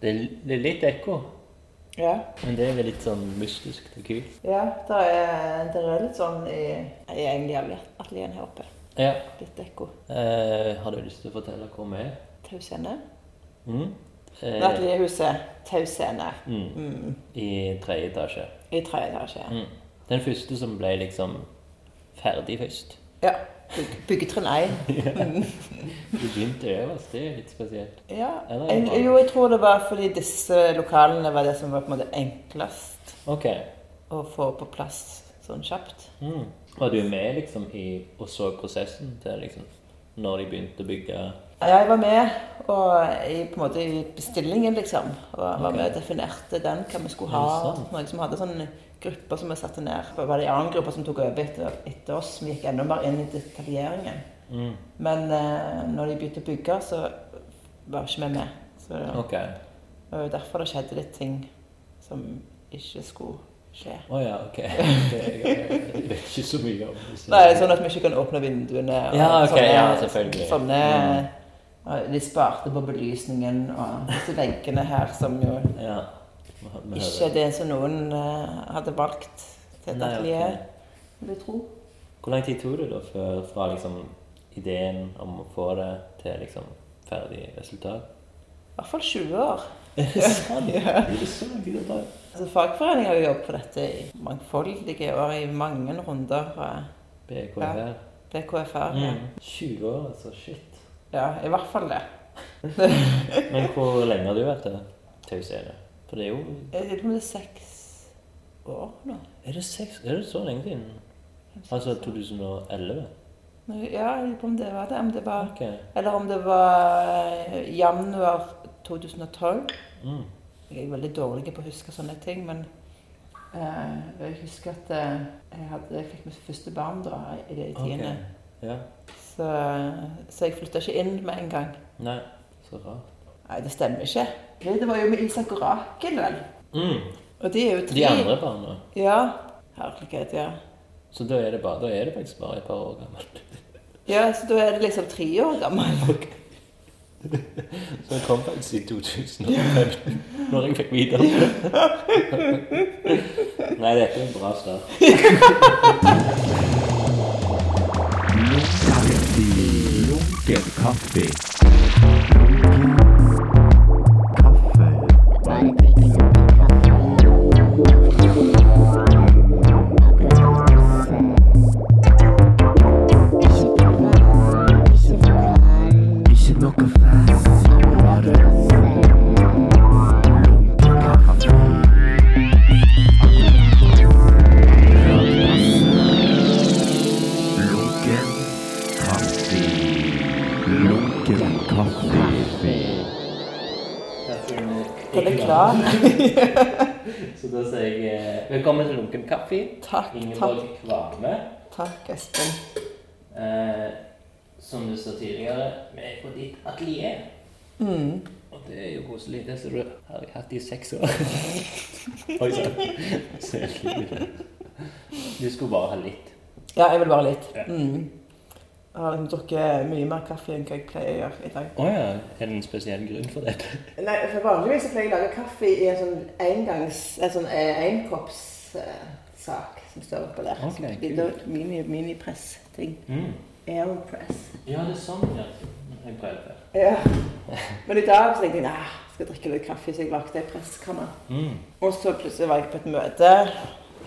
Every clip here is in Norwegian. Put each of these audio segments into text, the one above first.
Det er, det er litt ekko, Ja. men det er vel litt sånn mystisk og kult. ja det, er, det er litt sånn i, i egentlig alle atelierene her oppe. Ja. Litt ekko. Eh, har du lyst til å fortelle hvor vi er? Tausende. Mm? Eh, Atelierhuset Tausende mm, mm. I tredje etasje. i tredje etasje. Mm. Den første som ble liksom ferdig først. Ja. byg- Byggetrinn 1. Du begynte øverst, det er litt spesielt. Ja. Eller Jeg, bare- jo, jeg tror det var fordi disse lokalene var det som var på en måte enklest Ok. å få på plass sånn kjapt. Mm. Var du med liksom i, og så prosessen til liksom når de begynte å bygge? Ja, jeg var med og i, på en måte, i bestillingen, liksom. Og var Ok. med og definerte den, hva vi skulle Er ha. det sant? Noen som hadde sånne grupper som vi satte ned. Det var det en annen gruppe som tok over etter, etter oss. Vi gikk enda mer inn i detaljeringen. Mm. Men eh, når de begynte å bygge, så var ikke vi med. Så det Ok. var jo derfor det skjedde litt ting som ikke skulle skje. Å ja, ok. Det, jeg vet ikke så mye om det. så- Nei, sånn at vi ikke kan åpne vinduene. og Ja, ok, sånne, ja, selvfølgelig. Mm. Sånne, og De sparte på belysningen og disse veggene her som jo Ja. Vi hø- vi ikke hører. er det som noen eh, hadde valgt til et Nei, ok. atelier, vil jeg tro. Hvor lang tid tok det da før fra liksom ideen om å få det til liksom ferdig resultat? I hvert fall 20 år. Er det sant? Ja. Er det så lang tid det tar? Altså, Fagforeningen har jo jobbet på dette i mangfoldige år, i mange runder fra BKR. BKFR. Mm. 20 år, altså. Shit. Ja, i hvert fall det. Men hvor lenge har du vært der? Taus er det. For det er jo Jeg lurer på om det er seks år nå. Er det, seks, er det så lenge siden? Altså 2011? Ja, jeg lurer på om det var det. Om det var Ok. Eller om det var eh, januar 2012. Mm. Jeg er veldig dårlig på å huske sånne ting, men eh, jeg husker at eh, jeg, hadde, jeg fikk mitt første barn da, i det ok. tiende. Ja. Så, så jeg flytta ikke inn med en gang. Nei, så rart. Nei, det stemmer ikke. Det var jo med Isak og Rakel, vel. Mm. Og de er jo tre. De andre barna. Ja. Herlighet, ja. Så da er det, bare, da er det faktisk bare et par år gammelt. Ja, Så da er det liksom tre år gammel. Så jeg kom faktisk i 2015, når jeg fikk vite om det. Nei, dette er en bra start. Lunken kaffe. Ikke noe fast, bare lunken kaffe. Lunken kaffe. Lunken kaffe. Den er klar. Så da sier jeg eh, velkommen til Lunken kaffe. Takk, takk, Ingeborg Kvarme. takk, Espen. Eh, som du sa tidligere, vi er på ditt atelier. Mm. Og det er jo koselig. Det som du har jeg hatt i seks år. Oi sann. Selvfølgelig. Du skulle bare ha litt. Ja, jeg vil bare litt. Ja. Mm. Jeg har liksom drukket mye mer kaffe enn hva jeg pleier å gjøre i dag. Å ja. Er det en spesiell grunn for dette? Nei, for Vanligvis så pleier jeg å lage kaffe i en sånn engangs... En sånn enkoppssak som står oppå der. Ok, Sånn Liten mini, minipress-ting. Mm. Aeropress. Ja, det er sånn, ja. Jeg prøver. det. Ja. Men i dag så tenkte jeg nei, skal jeg drikke litt kaffe, så jeg lagde ei presskanne. Mm. Og så plutselig var jeg på et møte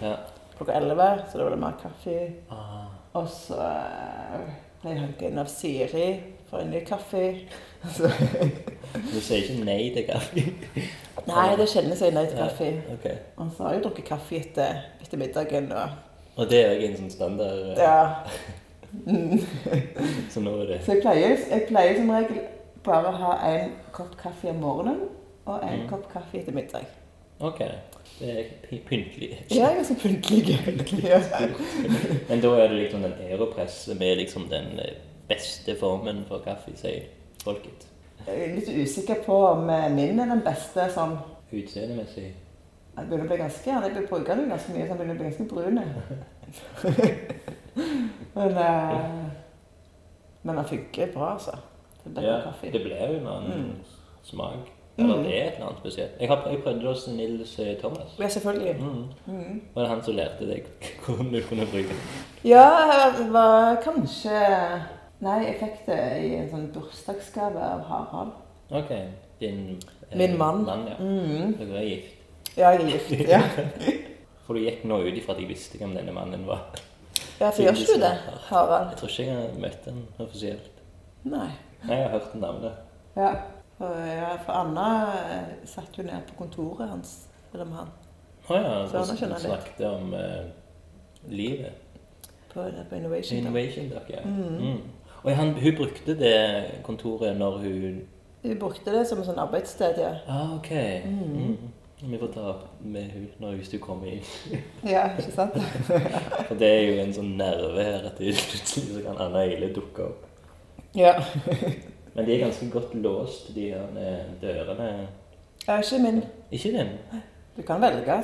Ja. klokka elleve, så da var det mer kaffe. Ah. Og så eh, ble jeg hanket inn av Siri for en ny kaffe. Så Du sier ikke nei til kaffe? Nei, det kjennes jeg nøyd kaffe. Ok. Og så har jeg drukket kaffe etter, etter middagen. Og, Og det er òg en sånn standard, eh, ja. Mm. så nå er det Så jeg pleier, jeg pleier som regel bare å ha en kopp kaffe om morgenen og en Mm. kopp kaffe etter middag. Ok. Det er py- pyntelig. Ja, jeg er så punktlig. Ja. Men da er det liksom den aeropress som er liksom den eh, beste formen for kaffe, sier folket. Jeg er litt usikker på om eh, min er den beste sånn. Utseendemessig. Jeg begynner å bli ganske gjerne, jeg bruker den ganske mye, så jeg begynner å bli ganske brun. jeg. men, eh, men den funker bra, altså. Det er bedre Ja, kaffe. det ble jo en annen Mm. smak. Eller det er et eller annet spesielt. Jeg, har, jeg prøvde hos Nils eh, Thomas. Ja, selvfølgelig. Mm. Var det han som lærte deg hvordan du kunne bruke den? Ja, det var kanskje Nei, jeg fikk det i en sånn bursdagsgave av Harald. Ok. Din eh, Min mann. ja. Mm. Dere er gift. Ja, jeg er gift. Ja, For du gikk nå ut ifra at jeg visste hvem denne mannen var. ja for gjør ikke du det, Harald? Jeg tror ikke jeg har møtt ham offisielt. Nei. Nei, jeg har hørt en dame der. Ja. For, ja, for Anna eh, satt jo nede på kontoret hans. Eller med han. Å ja. Så Hun nå skjønner jeg litt. snakket om eh, livet. På, på Innovation. da. Innovation Dock, ja. Mm. Og han, hun brukte det kontoret når hun Vi brukte det som et sånn arbeidssted, ja. Ah, ok. Mm. Vi får ta opp med hun når hvis du kommer inn. Ja, ikke sant? For det er jo en sånn nerve her at det plutselig så kan Anna Eile dukke opp. Ja. Men de er ganske godt låst, de her eh, dørene. Ja, ikke min. Ikke din? Du kan velge.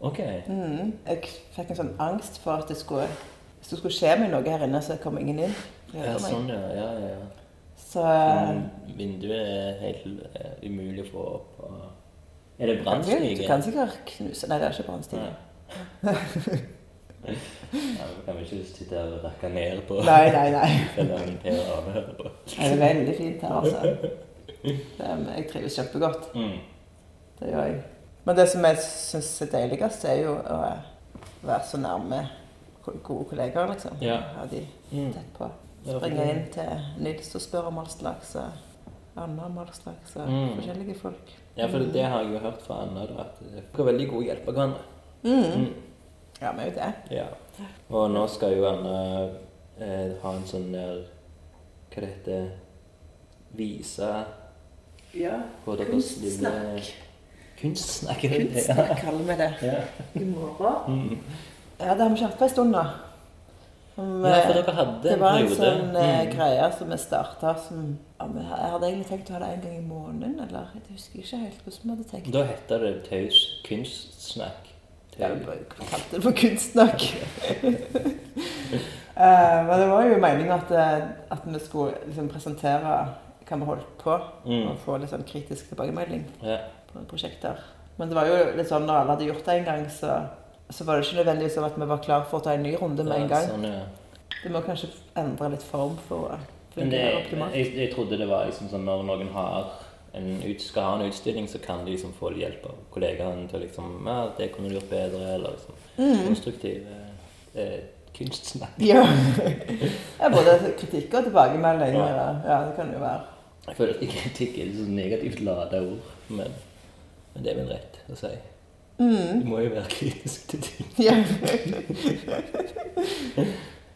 Ok. Mm. Jeg fikk en sånn angst for at det skulle Hvis det skulle skje meg noe her inne, så kom ingen inn. Ja, sånn, ja. ja, ja, ja. Så Mm. Men Vinduet er helt eh, umulig å få opp. Og... Er det du brannstige? kan sikkert knuse Nei, det er ikke brannstige. Ja, men kan vi ikke sitte her og rakke ned på Nei, nei, nei. eller en Per Arne hører på? Nei, Det er veldig fint her, altså. Det, jeg trives kjempegodt. Mm. Det gjør jeg. Men det som jeg syns er deiligst, er jo å være så nærme ko- gode kollegaer, liksom. Ja. Ha de Mm. tett på. Ja, Springe for- inn til Nils og spørre om all slags, og Anna om all slags, og Mm. forskjellige folk. Ja, for det har jeg jo hørt fra Anna, da, at dere er veldig gode hjelp av hverandre. Mm. Mm. Ja, vi er jo det. Ja. Og nå skal jo Anna eh, ha en sånn der Hva det heter Vise Ja. på deres lille Kunstsnakk. Kunstsnakk. er det det? Kunstsnakk kaller vi det Ja. i morgen. Mm. Ja, det har vi ikke hatt på en stund nå. Om, Ja, eh, for dere hadde Det en var en periode. sånn eh, Mm. greie som vi starta som ja, men Jeg hadde egentlig tenkt å ha det en gang i måneden, eller jeg husker ikke helt hvordan vi hadde tenkt. Da heter det taus kunstsnakk. Ja, vi bare kalte det for kunstsnakk. Eh, men det var jo meninga at, eh, at vi skulle liksom, presentere hva vi holdt på, Mm. og få litt sånn kritisk tilbakemelding Ja. på prosjekter. Men det var jo litt sånn når alle hadde gjort det en gang, så, så var det ikke nødvendigvis sånn at vi var klar for å ta en ny runde med en gang. Sånn, ja. Det må kanskje endre litt form for å Men det, fungere optimalt. jeg, jeg trodde det var liksom sånn når noen har en ut, skal ha en utstilling, så kan de liksom få hjelp av kollegaene til å liksom Ja, det kunne du gjort bedre, eller liksom konstruktiv eh, eh, kunstsnakk. Mm. Ja. ja. Både kritikk og tilbakemeldinger. Ja. ja, det kan det jo være. Jeg føler at kritikk er et så negativt lada ord, men, men det er vel rett å si. Mm. Du må jo være kritisk til ting. Ja,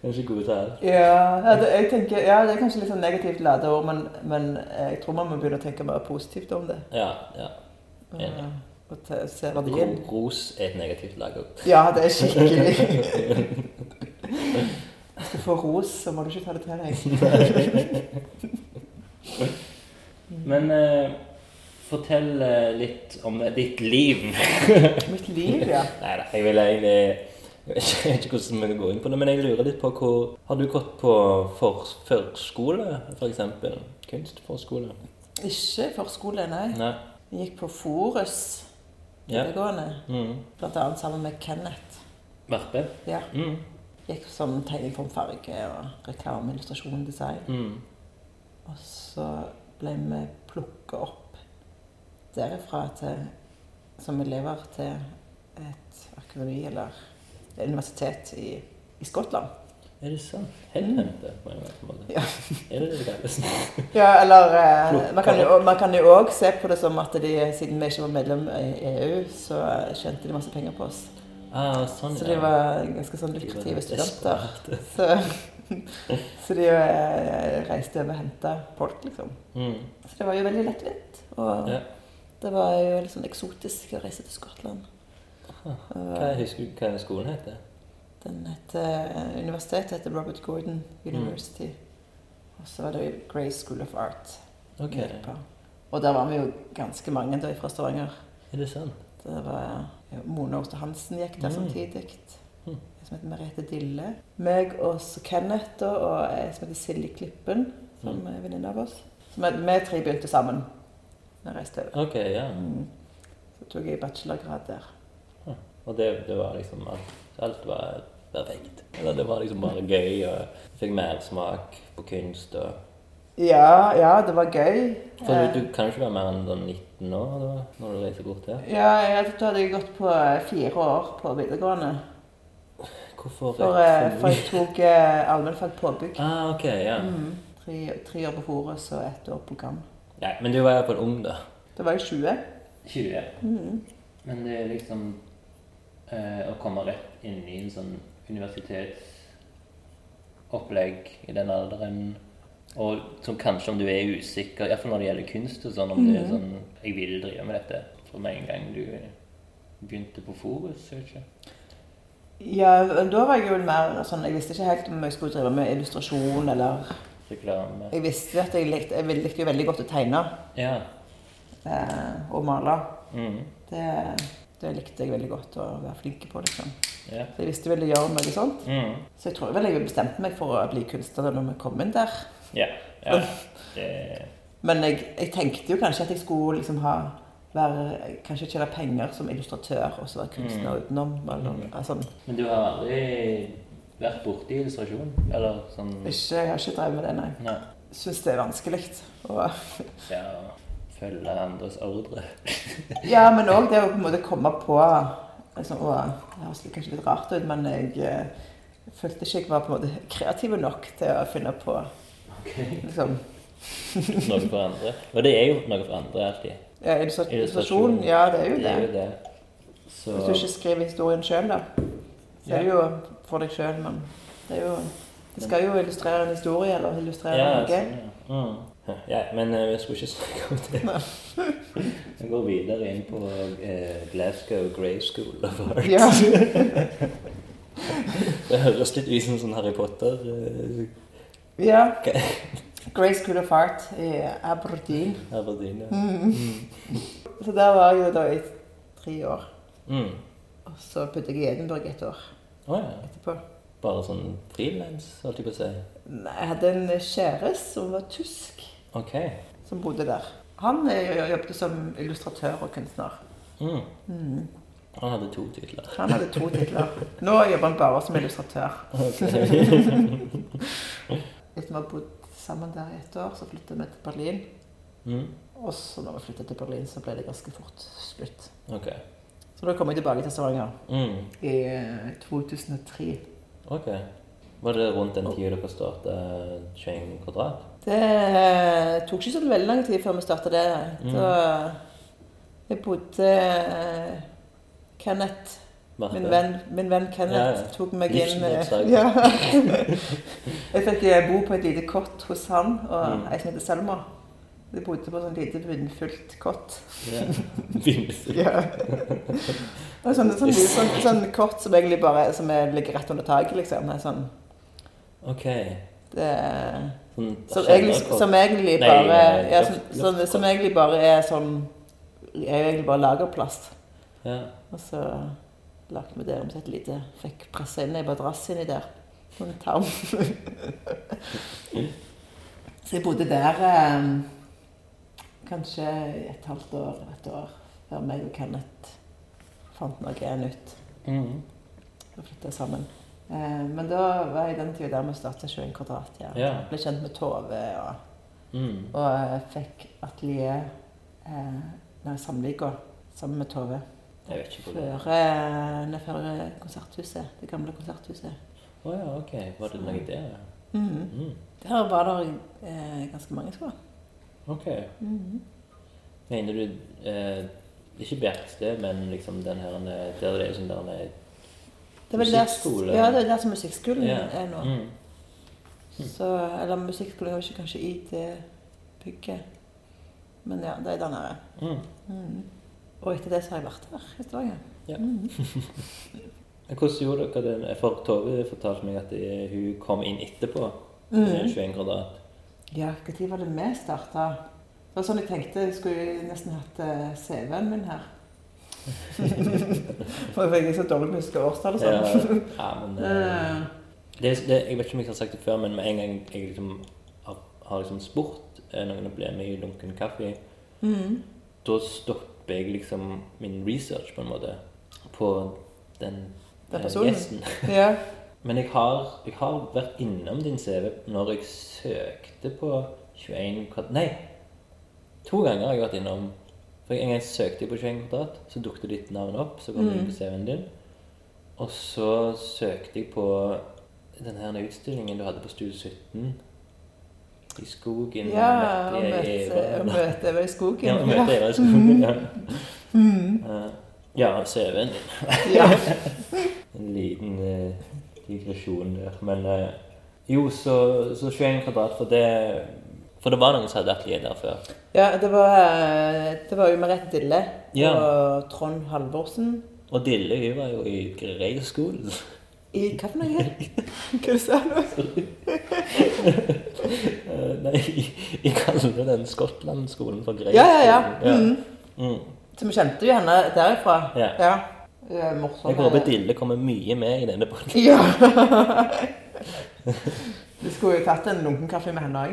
Du er ikke god til alt. ja, ja, det, jeg tenker, ja det er kanskje litt sånn negativt lada ord, men, men eh, jeg tror man må begynne å tenke mer positivt om det. Ja. ja. Og, Enig. og te, se verdien. Ro- Ros er et negativt laga ord. Ja, det er skikkelig. Hvis du får ros, så må du ikke ta det til deg. Men eh, fortell eh, litt om ditt liv. Mitt liv, ja. Nei da, jeg vil egentlig Jeg vet ikke hvordan vi kan gå inn på det, men jeg lurer litt på hvor Har du gått på for, førskole, f.eks.? Kunstforskole? Ikke i forskole, nei. Nei. Jeg gikk på Forus Ja. videregående, Mm. blant annet sammen med Kenneth. Varpe? Ja. Mm. Gikk som tegning, form, farge og reklame, illustrasjon, design. Mm. Og så ble vi plukket opp derifra til, som elever til et akademi eller et universitet i, i Skottland. Er det sant? Headhunter, på en eller annen måte. Mm. Ja. Er det det det kalles? Ja, eller eh, Plukket Man kan jo- man kan jo òg se på det som at de, siden vi ikke var medlem i EU, så tjente de masse penger på oss. Ah, sånn, Så de var ganske sånn lukrative studenter. Desperate. Så, så de eh, reiste over og henta folk, liksom. Mm. Så det var jo veldig lettvint. Og Ja. det var jo litt sånn eksotisk å reise til Skottland. Hva, Og husker du hva skolen heter? den heter, eh, universitetet heter Robert Gordon University. Og så var det jo Grey School of Art. Mm. Ok, etterpå. Og der var vi jo ganske mange da fra Stavanger. er det sant? Det var ja, Mone Åste Hansen gikk der Mm. samtidig. Mm. En som heter Merete Dille. Meg og så Kenneth da, Mm. og en som heter Silje Klippen, som er venninne av oss. Så vi, vi tre begynte sammen. når jeg reiste over. OK, ja. Mm. Så tok jeg bachelorgrad der. Og det, det var liksom alt, alt var perfekt. Eller det var liksom bare gøy, og jeg fikk mer smak på kunst. Og, Ja, ja, det var gøy. for Eh, du, du kan jo ikke være mer enn sånn 19 år da, når du reiser bort her. Eh, Ja, jeg, da hadde jeg gått på eh, fire år på videregående. Hvorfor For, eh, rett for jeg tok eh, allmennfag påbygg. Ah, OK, ja. Mm. Tre, tre år på Forus og ett år på GAM. Nei, men du var iallfall ung, da. Da var jeg 20. 20. Mm. Men det er liksom eh, å komme rett inn i en sånn universitetsopplegg i den alderen og som kanskje om du er usikker, iallfall når det gjelder kunst og sånn, om det er Mhm. sånn Jeg vil drive med dette. Fra med en gang du begynte på Forus, vet ikke. Ja, da var jeg jo mer sånn Jeg visste ikke helt om jeg skulle drive med illustrasjon eller Reklame Jeg visste at jeg likte, jeg vil- likte jo veldig godt å tegne Ja. eh, og male. mhm, Det, det likte jeg veldig godt å være flink på, liksom. ja. Så jeg visste jeg ville gjøre noe sånt. mhm, sånn, Så jeg tror vel jeg bestemte meg for å bli kunstner da når vi kom inn der. ja. Ja. Det Men jeg, jeg tenkte jo kanskje at jeg skulle liksom ha være, Kanskje tjene penger som illustratør og så være kunstner utenom. Eller, Mm. altså, Men du har aldri vært borti illustrasjon? Eller sånn ikke, jeg har ikke drevet med det, nei. Nei. Syns det er vanskelig. Og, Ja, følge andres ordre. ja, men òg det å på en måte komme på liksom, og, Det høres litt- kanskje litt rart ut, men jeg eh, følte ikke jeg var på en måte kreativ nok til å finne på liksom, Noe for andre. Og det er jo noe for andre alltid. ja, illustra- Illustrasjon. illustrasjon. Ja, det er jo Det det. er jo det. Så Hvis du ikke skriver historien sjøl, da. Så er det jo for deg sjøl, men det er jo Det skal jo illustrere en historie, eller illustrere ja, noe. sånn, ja. Mm. ja, men eh, vi skulle ikke snakke om det. Vi går videre inn på eh, Glasgow Grey School of Art. Ja. Det høres litt ut som sånn Harry Potter. eh, ja. Grey School of Art i Aberdeen. Aberdeen. ja. Mm. Så der var jeg jo da i tre år. Mm. Og så bodde jeg i Edinburgh et år Å ja. etterpå. Bare sånn frilans, holdt jeg på å si. Nei, Jeg hadde en kjæreste som var tysk, OK. som bodde der. Han eh, jobbet som illustratør og kunstner. Mm. Mm. Han hadde to titler. Han hadde to titler. Nå jobber han bare som illustratør. Etter vi har bodd sammen der i et år, så flyttet vi til Berlin. Mm. Og så når vi flyttet til Berlin, så ble det ganske fort slutt. OK. Så da kom jeg tilbake til Stavanger Mm. i eh, 2003. Ok. Var det rundt den tida dere eh, starta Chain Kvadrat? Det eh, tok ikke så veldig lang tid før vi startet det. Da eh, jeg bodde eh, Kenneth, Marte? min venn, min venn Kenneth, Ja, ja. tok meg inn eh, Livsledsager. ja. Jeg fikk eh, bo på et lite kott hos han og Mm. ei som heter Selma. Vi bodde på sånn lite vindfullt kott. Ja. Begynnelsen. Ja. Det er sånn, sånn, sånn, sånn kort som egentlig bare som er, ligger rett under taket, liksom. Det er Sånn, Ok. det, er- Sånn som, egentlig, som egentlig Nei, bare eh, ja, loft- som, som, loftkort. som egentlig bare er sånn Er egentlig bare lagerplast. Ja. Og så lagde vi det om til et lite Fikk pressa inn ei madrass inni der. Og en tarm. så jeg bodde der eh, kanskje et halvt år, et år, før meg og Kenneth fant noe nytt. Mhm. og flytta sammen. Eh, men da var jeg den tida der vi starta 21 kvadrat. Ja. Ja. Ble kjent med Tove og, Mhm. og eh, fikk atelier eh, nede i Sandvika sammen med Tove. Jeg vet ikke hvor det Før, eh, nei, før eh, konserthuset, det gamle konserthuset. Å ja, ok. Var det noe der? ja? Mhm. Mhm. Der var det eh, ganske mange sko. Ok. Mener du eh, Ikke verksted, men liksom den her eh, der det er sånn der eh, Det var der, Musikkskole. ja, det er der som musikkskolen Ja. er nå. Mhm. Så, eller musikkskolen er jo ikke kanskje i det bygget, men ja, det er der nede. Mhm. Mm. Og etter det så har jeg vært her i Stavanger. Ja. Mm. Men Hvordan gjorde dere det? For Tove fortalte meg at eh, hun kom inn etterpå. eh, Mm. 21 kvadrat. Ja, når var det vi starta? Det var sånn jeg tenkte, jeg skulle jo nesten hatt eh, CV-en min her. For jeg er så dårlig på å huske årstall og Ja, sånn. ja, men eh, Eh, det, det, Jeg vet ikke om jeg har sagt det før, men med en gang jeg liksom har, har liksom spurt eh, noen å bli med i Lunken kaffe, Mm. Da stopper jeg liksom min research, på en måte, på den, Den eh, personen. gjesten. Ja. Men jeg har, jeg har vært innom din CV når jeg søkte på 21 kvadrat Nei, to ganger har jeg vært innom. For En gang søkte jeg på 21 kvadrat, så dukket ditt navn opp. Så kom det inn på CV-en din. Og så søkte jeg på den her utstillingen du hadde på Stue 17. I skogen. ja eh, og møtte jeg møte, Eva. og møte Eva i skogen. Ja, og møtte Eva i skogen. Ja, Eh, ja CV-en din. Ja. En liten eh, digresjon der. Men eh, jo, så, så 21 kvadrat, for det For det var noen som hadde atelier der før. ja, det var, eh, det var jo Merete Dille Ja. og Trond Halvorsen. Og Dille hun var jo i Greierskolen. I hva for noe? Hva sa du? Eh, nei, jeg kaller den Skottland-skolen for Ja, ja, ja. Greierskolen. Mm. Mm. Så vi kjente jo henne derifra. Ja. ja. Eh, Morsom. Jeg håper Dille kommer mye med i denne podkasten. Ja. Du skulle jo tatt en lunken kaffe med henne òg.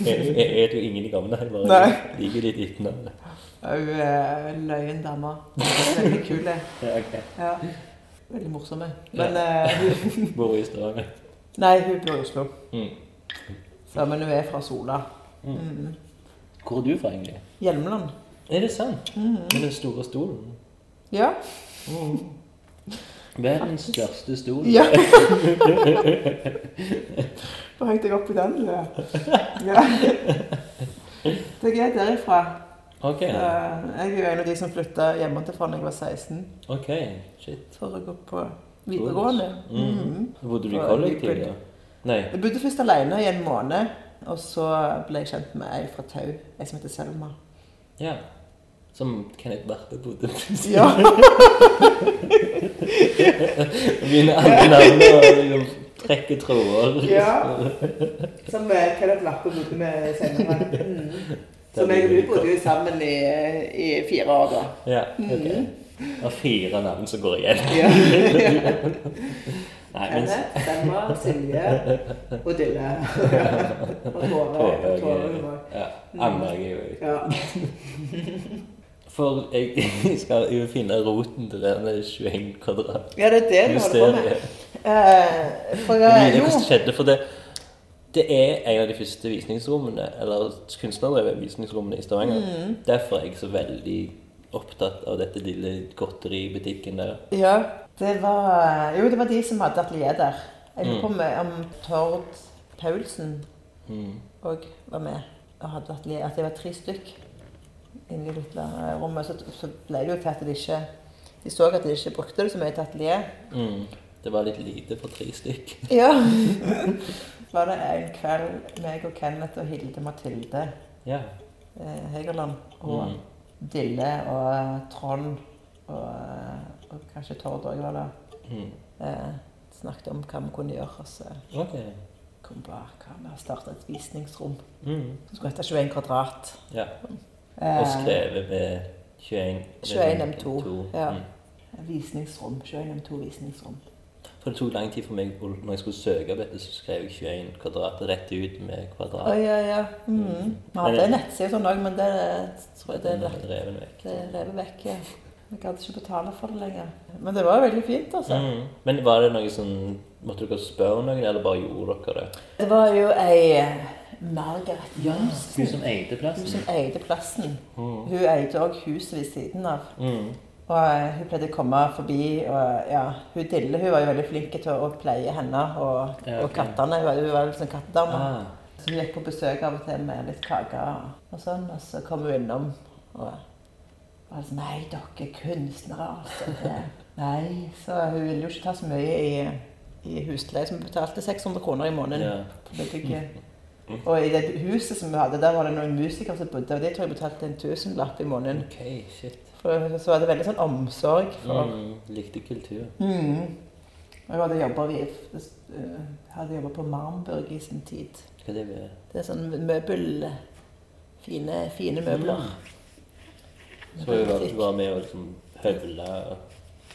Jeg jeg vet jo ingen i gamle jeg bare Nei. liker litt utenom. Hun er en løyen dame. Veldig kul. Ja, ok. Ja. Veldig morsom. Men eh, hun- Bor i Stavanger. Nei, hun bor i Oslo. Mm. Så, men hun er fra Sola. Mm. Hvor er du fra, egentlig? Hjelmeland. Er det sant? Med den store stolen? Ja. Verdens største stol. ja. Da hengte jeg opp i den. Ja. ja. Jeg er derifra. Ok, Eh, Jeg er jo en av de som flytta hjemmefra da jeg var 16, ok, shit. Mm-hmm. for å gå på videregående. Mm. Mhm. Bodde du i Fra kollektiv da? Lykbygd. Nei. Jeg bodde først alene i en måned, og så ble jeg kjent med ei fra Tau, ei som heter Selma. Ja. Som Kenneth Barpe bodde Ja, Mine andre navn og liksom trekker tråder. Ja. Som eh, Kenneth Lappe bodde med senere. Mm. Der Så meg og bodde du vi bodde jo sammen i, i fire år, da. Ja, ok. Det er fire navn som går igjen. Mm-hmm. Ja. Nei, men Kenneth, Selma, Silje og Dille. og Tove. Tove Tove er- hun var- Ja, Anna er jo Ja. For jeg skal jo finne roten til denne 21 kvadrat. ja, det er det du holder på med. mysteriet. Eh, for Jeg mener jeg, hva jo, som skjedde, for det, det er en av de første visningsrommene, eller kunstnerdrevne visningsrommene i Stavanger. Mm, Derfor er jeg så veldig opptatt av dette lille godteributikken der. ja, det var, eh, jo, det var de som hadde atelier der. Jeg lurer på med om Tord Paulsen Mm. òg var med og hadde atelier. At det var tre stykk inne i lille rommet. Så, så ble det jo til at de ikke De så at de ikke brukte det så mye til atelier. Mm. Det var litt lite for tre stykk. Ja. Så var det en kveld meg og Kenneth og Hilde Mathilde Ja. eh, Hegerland og Mm. Dille og eh, Trond og, eh, og kanskje Tord òg var der. Mm. Eh, snakket om hva vi kunne gjøre. Og så Ok. kom bare hva med å starte et visningsrom Mm. som skulle hete 21 kvadrat. Ja. Eh, Og skrevet med 21 21 med M2, ja. Mm. Visningsrom. 21 M2 visningsrom. For det tok lang tid for meg å- når jeg skulle søke på dette, så skrev jeg 21 kvadrat rett ut med Å kvadrat. ja, ja. Mm. Vi hadde en nettside og sånn òg, men det tror jeg det Den er er reven vekk. Det revet vekk. ja. Jeg gadd ikke betale for det lenger. Men det var veldig fint, altså. Mm. Men var det noe som Måtte dere spørre noen, eller bare gjorde dere det? Det var jo ei eh, Margaret Jønsen Hun som eide hun plassen? som eide plassen. Mm. Hun eide òg huset ved siden av. Mm. Og eh, hun pleide å komme forbi. og ja, Hun Dille hun var jo veldig flink til å pleie henne og, Ja, og ok. kattene. Hun var jo veldig sånn kattedame. Ah. Så hun gikk på besøk av og til med litt kaker og sånn. Og så kom hun innom og var sånn Nei, dere er kunstnere, altså. Det. Nei, så hun ville jo ikke ta så mye i, i husleie, så hun betalte 600 kroner i måneden. Ja. på det bygget. Og i det huset som vi hadde, der var det noen musikere som bodde, og de tror jeg betalte en tusenlapp i måneden. Ok, shit. For så var det veldig sånn omsorg for Mm. Likte kultur. mm. Og jeg hadde jobba hadde jobbet på Marmburg i sin tid. Hva det være? Det er sånn møbel Fine, fine møbler. Mm. Så hun var, hun var med og liksom høvla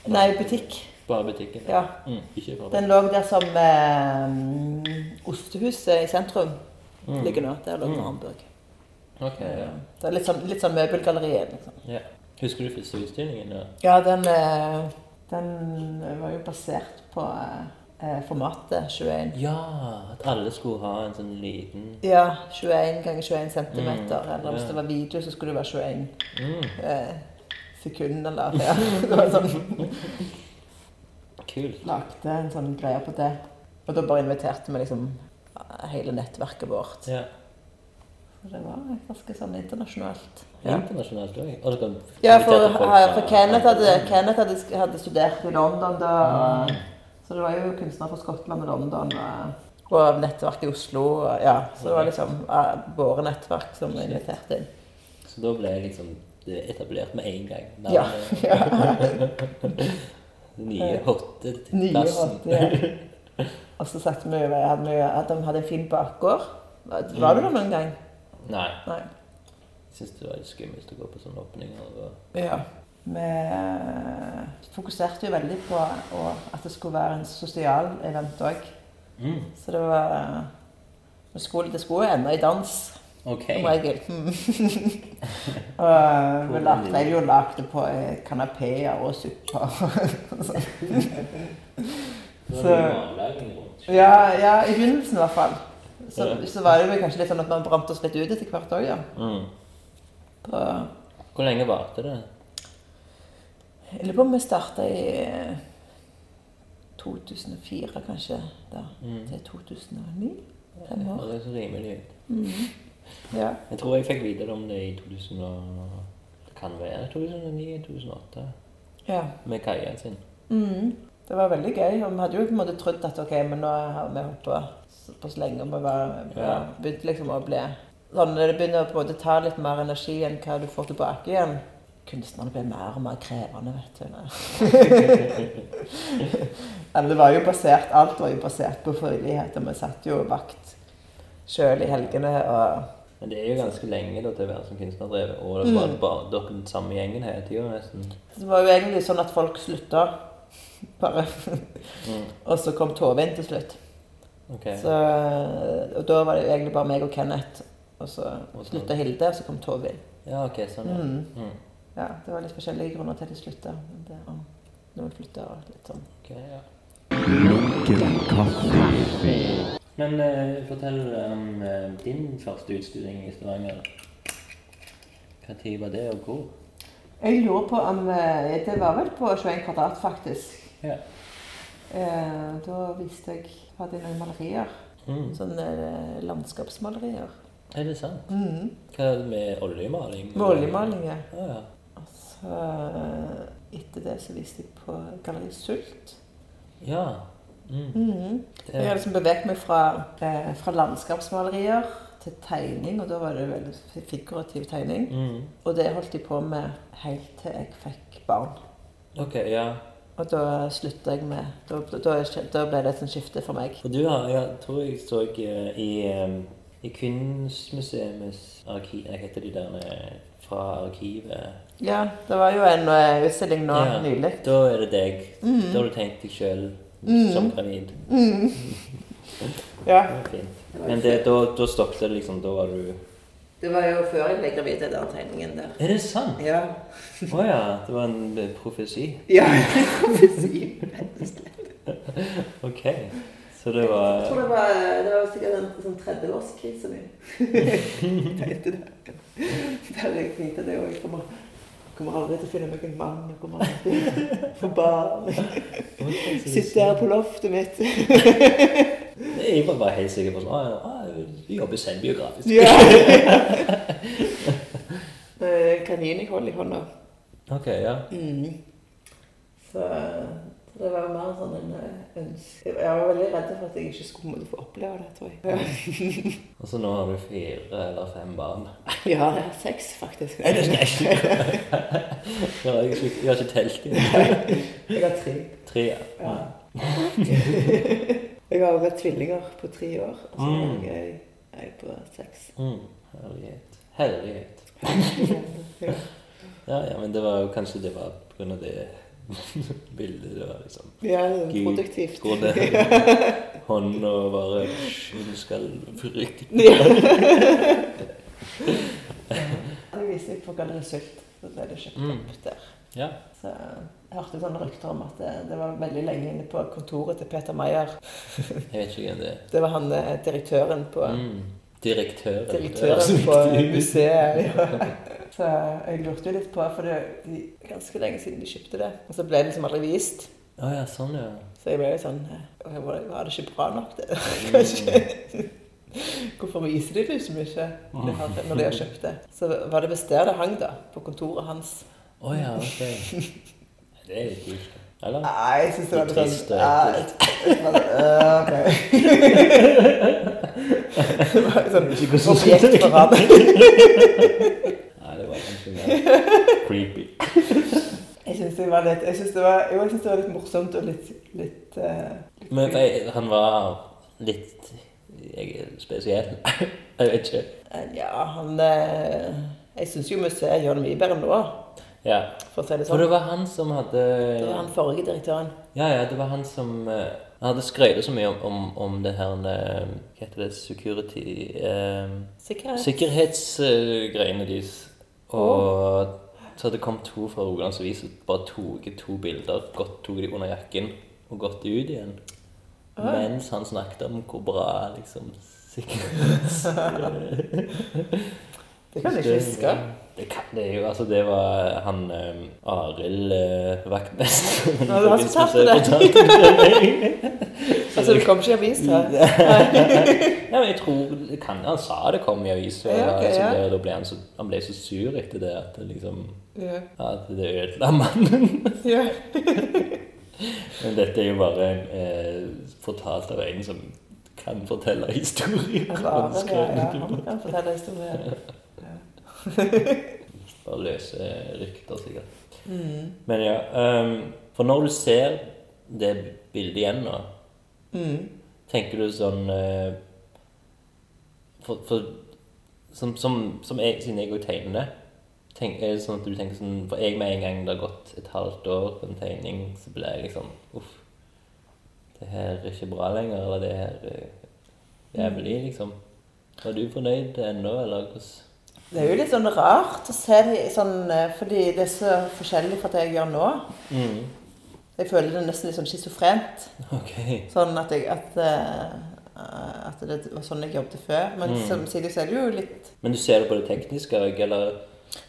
Nei, butikk. bare butikken? Ja. Mm. Ikke bare Den lå der som eh, ostehuset i sentrum ligger nå. Der lå Mm. Marmburg. Ok, ja. Eh, Det er litt sånn, litt sånn møbelgalleriet. Liksom. ja. Husker du første utstillingen? Ja. Ja, den, eh, den eh, var jo basert på eh, formatet 21. ja, at alle skulle ha en sånn liten Ja, 21 ganger 21 centimeter. Mm, eller hvis ja. det var video, så skulle det være 21 mm, eh, sekunder. Eller, ja. det var sånn, Kult. lagde en sånn greie på det. Og da bare inviterte vi liksom hele nettverket vårt. Ja. Så det var ganske sånn internasjonalt. Ja. Internasjonalt Altså, òg. Og dere Ja, for, inviterte folk for fra- Mm. Kenneth, hadde, Kenneth hadde, hadde studert i London da. og- Så det var jo kunstnere fra Skottland og London. og- Og nettverk i Oslo. og- Ja, så det var liksom eh, våre nettverk som vi inviterte inn. Så da ble liksom det etablert med en gang. Navnet- Ja. ja. Nye hotte til Nye plassen. hotte, ja. Og så satt vi over hadde vi, at de hadde en fin bakgård. Var Mm. du der noen gang? Nei. Nei. Jeg syns det var litt skummelt å gå på sånne åpninger. og- Ja. Vi eh, fokuserte jo veldig på å- at det skulle være en sosial event òg. Mm. Så det var vi skulle, Det skulle jo ende i dans, OK. som regel. Mm. Og vi lagde, jeg jo lagde på eh, kanapeer og supper. Så Så- ja, ja, i begynnelsen i hvert fall. Så, Ja. så var det jo kanskje litt sånn at man brant oss litt ut etter hvert òg, ja. mm. På, Hvor lenge varte det? jeg lurer på om vi starta i eh, 2004, kanskje. Da. Mm. Til 2009? Fem Det år. høres rimelig ut. Ja. Jeg tror jeg fikk vite om det i 2000 og... Det kan være 2009-2008 ja. med Kaja sin. Mhm. Det var veldig gøy. Og vi hadde jo på en måte trodd at ok, men nå har vi holdt på såpass lenge og vi var, vi Ja. begynte liksom å bli sånn, Når det begynner å på en måte ta litt mer energi enn hva du får tilbake igjen Kunstnerne blir mer og mer krevende, vet du. nå. Eller det var jo basert, alt var jo basert på frivillighet, og vi satt jo vakt sjøl i helgene. og Men det er jo ganske lenge da til å være som kunstnerdrevet, og det Mm. var bare dere den samme gjengen hele tiden nesten. Det var jo egentlig sånn at folk slutta, bare. Mm. Og så kom Tove inn til slutt. Ok. Så, og da var det jo egentlig bare meg og Kenneth. Og så Og så- slutta Hilde, og så kom Tove inn. Ja, ok, sånn ja. Mm. Mm. Ja, det var litt forskjellige grunner til at de slutta. men det- og Noen flytta og litt sånn. Ok, ja. Lunken kaffe. Men eh, fortell om eh, din første utstilling i Stavanger. Hva tid var det, og hvor? Jeg lurer på om eh, Det var vel på 21 kvadrat, faktisk. Ja. Eh, da viste jeg Hadde jeg noen malerier. Mm. Sånne eh, landskapsmalerier. Er det sant? Mm. Hva er det med oljemaling? Med oljemalinger. Ja, ja. Og så eh, etter det så viste jeg på Galleri Sult. Ja. Mm. Mhm. Jeg har Det, liksom beveget meg fra, eh, fra landskapsmalerier til tegning, og da var det veldig fi- figurativ tegning. mm. Og det holdt jeg på med helt til jeg fikk barn. Ok, ja. Og da slutta jeg med Da, da, da ble det et sånt skifte for meg. Og du har, jeg tror jeg så eh, i, eh, i Kunstmuseets arkiv, hva heter de der eh, fra arkivet? Ja, det var jo en eh, utstilling nå Ja. Mm. nylig. Da er det deg. Da har du tenkt deg sjøl Mm. som gravid. Mhm. Ja. Det var fint. Mm. Men det, da, da stoppet det liksom, da var du Det var jo før jeg ble gravid, den der tegningen der. Er det sant? Ja. Å ja. Det var en eh, profesi. Ja, rett og slett. Ok. Så det var det var, det var sikkert en sånn 30-årskrise min. Tenkte det. Der jeg tenkte det, og jeg kommer, kommer aldri til å finne meg en mann. Jeg kommer aldri til å få barn. Ok, så det- Sitte her på loftet mitt. Jeg var bare helt sikker på sånn «Å, ja, å, Du jobber selvbiografisk. Ja. Med Kanin jeg holder i hånda. Ok, ja. Mm. Så det var mer sånn en ønske Jeg var veldig redd for at jeg ikke skulle få oppleve det, tror jeg. Og så nå har du fire eller fem barn. Ja, det er sex, faktisk. Nei, det skal jeg ikke. Jeg har ikke, jeg har ikke telt i det. Jeg har tre. Tre, ja. Ja. jeg har vært tvillinger på tre år, og så Mm. har jeg ei på seks. Mm. Herlighet. Herlighet. Ja, ja, men det var jo kanskje det var på grunn av det bildet det var liksom Ja, det er Gud. produktivt. Hvor det hånda bare Hun skal rykke Ja. på Galleri Sylt. Så ble det kjøpt Mm. opp der. Ja. Så jeg hørte sånne rykter om at det, det var veldig lenge inne på kontoret til Peter Meyer. Jeg vet ikke hvem det er. Det var han eh, direktøren på Mm. Direktøren. Det høres direktøren på viktig ut. museet. Ja. Så jeg lurte jo litt på, for det det er ganske lenge siden de kjøpte det. Og så ble det liksom aldri vist. Å ja, sånn, ja. Så jeg ble litt sånn eh, Var var det ikke bra nok, det? Kanskje. Hvorfor viser de det så mye det har, når de har kjøpt det? Så var det visst der det hang, da. På kontoret hans. Mm. Å ja, ok. Det er litt kult. Eller? Nei, jeg syns det var litt Trist sånn og ja, ekkelt. jeg- jeg var sånn, øh, ok. Det var et sånn Ikke så objekt for han. Nei, det var kanskje mer creepy. Jeg syns det var litt jeg synes det var, Jo, jeg synes det var litt morsomt og litt, litt eh, Men jeg, han var litt jeg, er spesiell. Jeg vet ikke. eh, Ja, han eh, Jeg syns jo museet gjør det mye bedre nå, Ja. for å si det For sånn. det var han som hadde Det var han forrige direktøren. Ja, ja, det var han som eh, Han hadde skrøyt så mye om, om, om det her eh, Hva heter det? Security eh, Sikkerhet. Sikkerhetsgreiene deres. Og så hadde det kommet to fra Rogalands Avis og bare tok to bilder. Godt tok de under jakken og gått ut igjen. Ah. Mens han snakket om hvor bra liksom sikkerhets... Det kan jeg ikke huske. Det, kan, det er jo altså Det var han um, Arild eh, vaktmester. Ja, det var han som tapte det. Altså, det kom ikke i avis her. Ja, men jeg tror det kan, Han sa det kom i avisa, Ja, ok, liksom, ja. det, og da ble han, så, han ble så sur etter det at det liksom Ja. At det ødela mannen. Ja. Men dette er jo bare eh, fortalt av en som kan fortelle historier. Han var Han vel, skrøt ja, litt han kan fortelle historier. Bare løse rykter, sikkert. Mm. Men ja, ehm, for når du ser det bildet igjen nå, Mm. tenker du sånn eh, For, for som, som, som jeg, siden jeg jo tegner det, tenk, er det sånn at du tenker sånn For jeg med en gang det har gått et halvt år på en tegning, så blir jeg liksom Uff. Det her er ikke bra lenger, eller det her er jævlig, liksom. Var du fornøyd ennå, eller hvordan Det er jo litt sånn rart å se det i sånn eh, Fordi det er så forskjellig fra det jeg gjør nå. mm. Jeg føler det er nesten litt sånn schizofrent. OK. Sånn at, jeg, at, eh, at det var sånn jeg jobbet før. Men Mm. samtidig så er det jo litt Men du ser det på det tekniske òg, eller?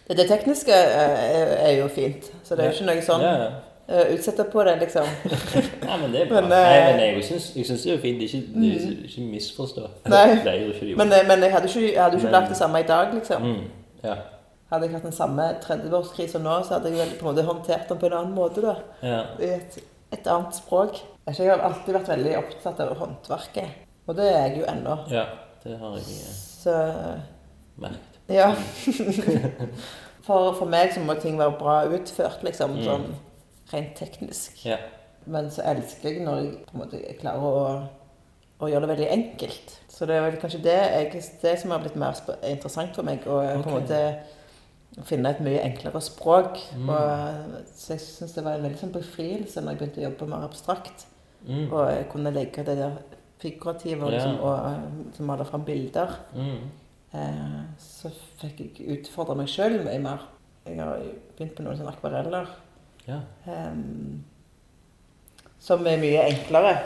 Det, det tekniske eh, er, er jo fint, så det er jo ikke noe sånn Ja, ja. eh, utsette på det, liksom. Nei, men det er bra. Men, eh, Nei, men jeg syns, jeg syns det er fint. Det er ikke, det er ikke misforstå. Nei. Det er jo ikke det. Men, eh, men jeg hadde jo ikke, jeg hadde jo ikke Men- lagd det samme i dag, liksom. mm, ja. Hadde jeg hatt den samme 30-årskrisen nå, så hadde jeg vel på en måte håndtert den på en annen måte, da. ja. I et, et annet språk. Jeg vet ikke, jeg har alltid vært veldig opptatt av håndverket, og det er jeg jo ennå. Ja, det har jeg eh, Så merket. ja. For, for meg så må ting være bra utført, liksom, Mm. sånn rent teknisk. Ja. Men så elsker jeg når jeg på en måte klarer å, å gjøre det veldig enkelt. Så det er vel kanskje det, jeg, det som har blitt mer sp- interessant for meg. Å på en Ok. måte finne et mye enklere språk. Mm. Og, så jeg syns det var en veldig sånn befrielse når jeg begynte å jobbe mer abstrakt. Mm, Og jeg kunne legge det der figurative og, Ja. liksom, og, eh, male fram bilder. mm, Eh, så fikk jeg utfordre meg sjøl mye mer. Jeg har jo begynt på noen sånne akvareller. ja. Ehm, som er mye enklere.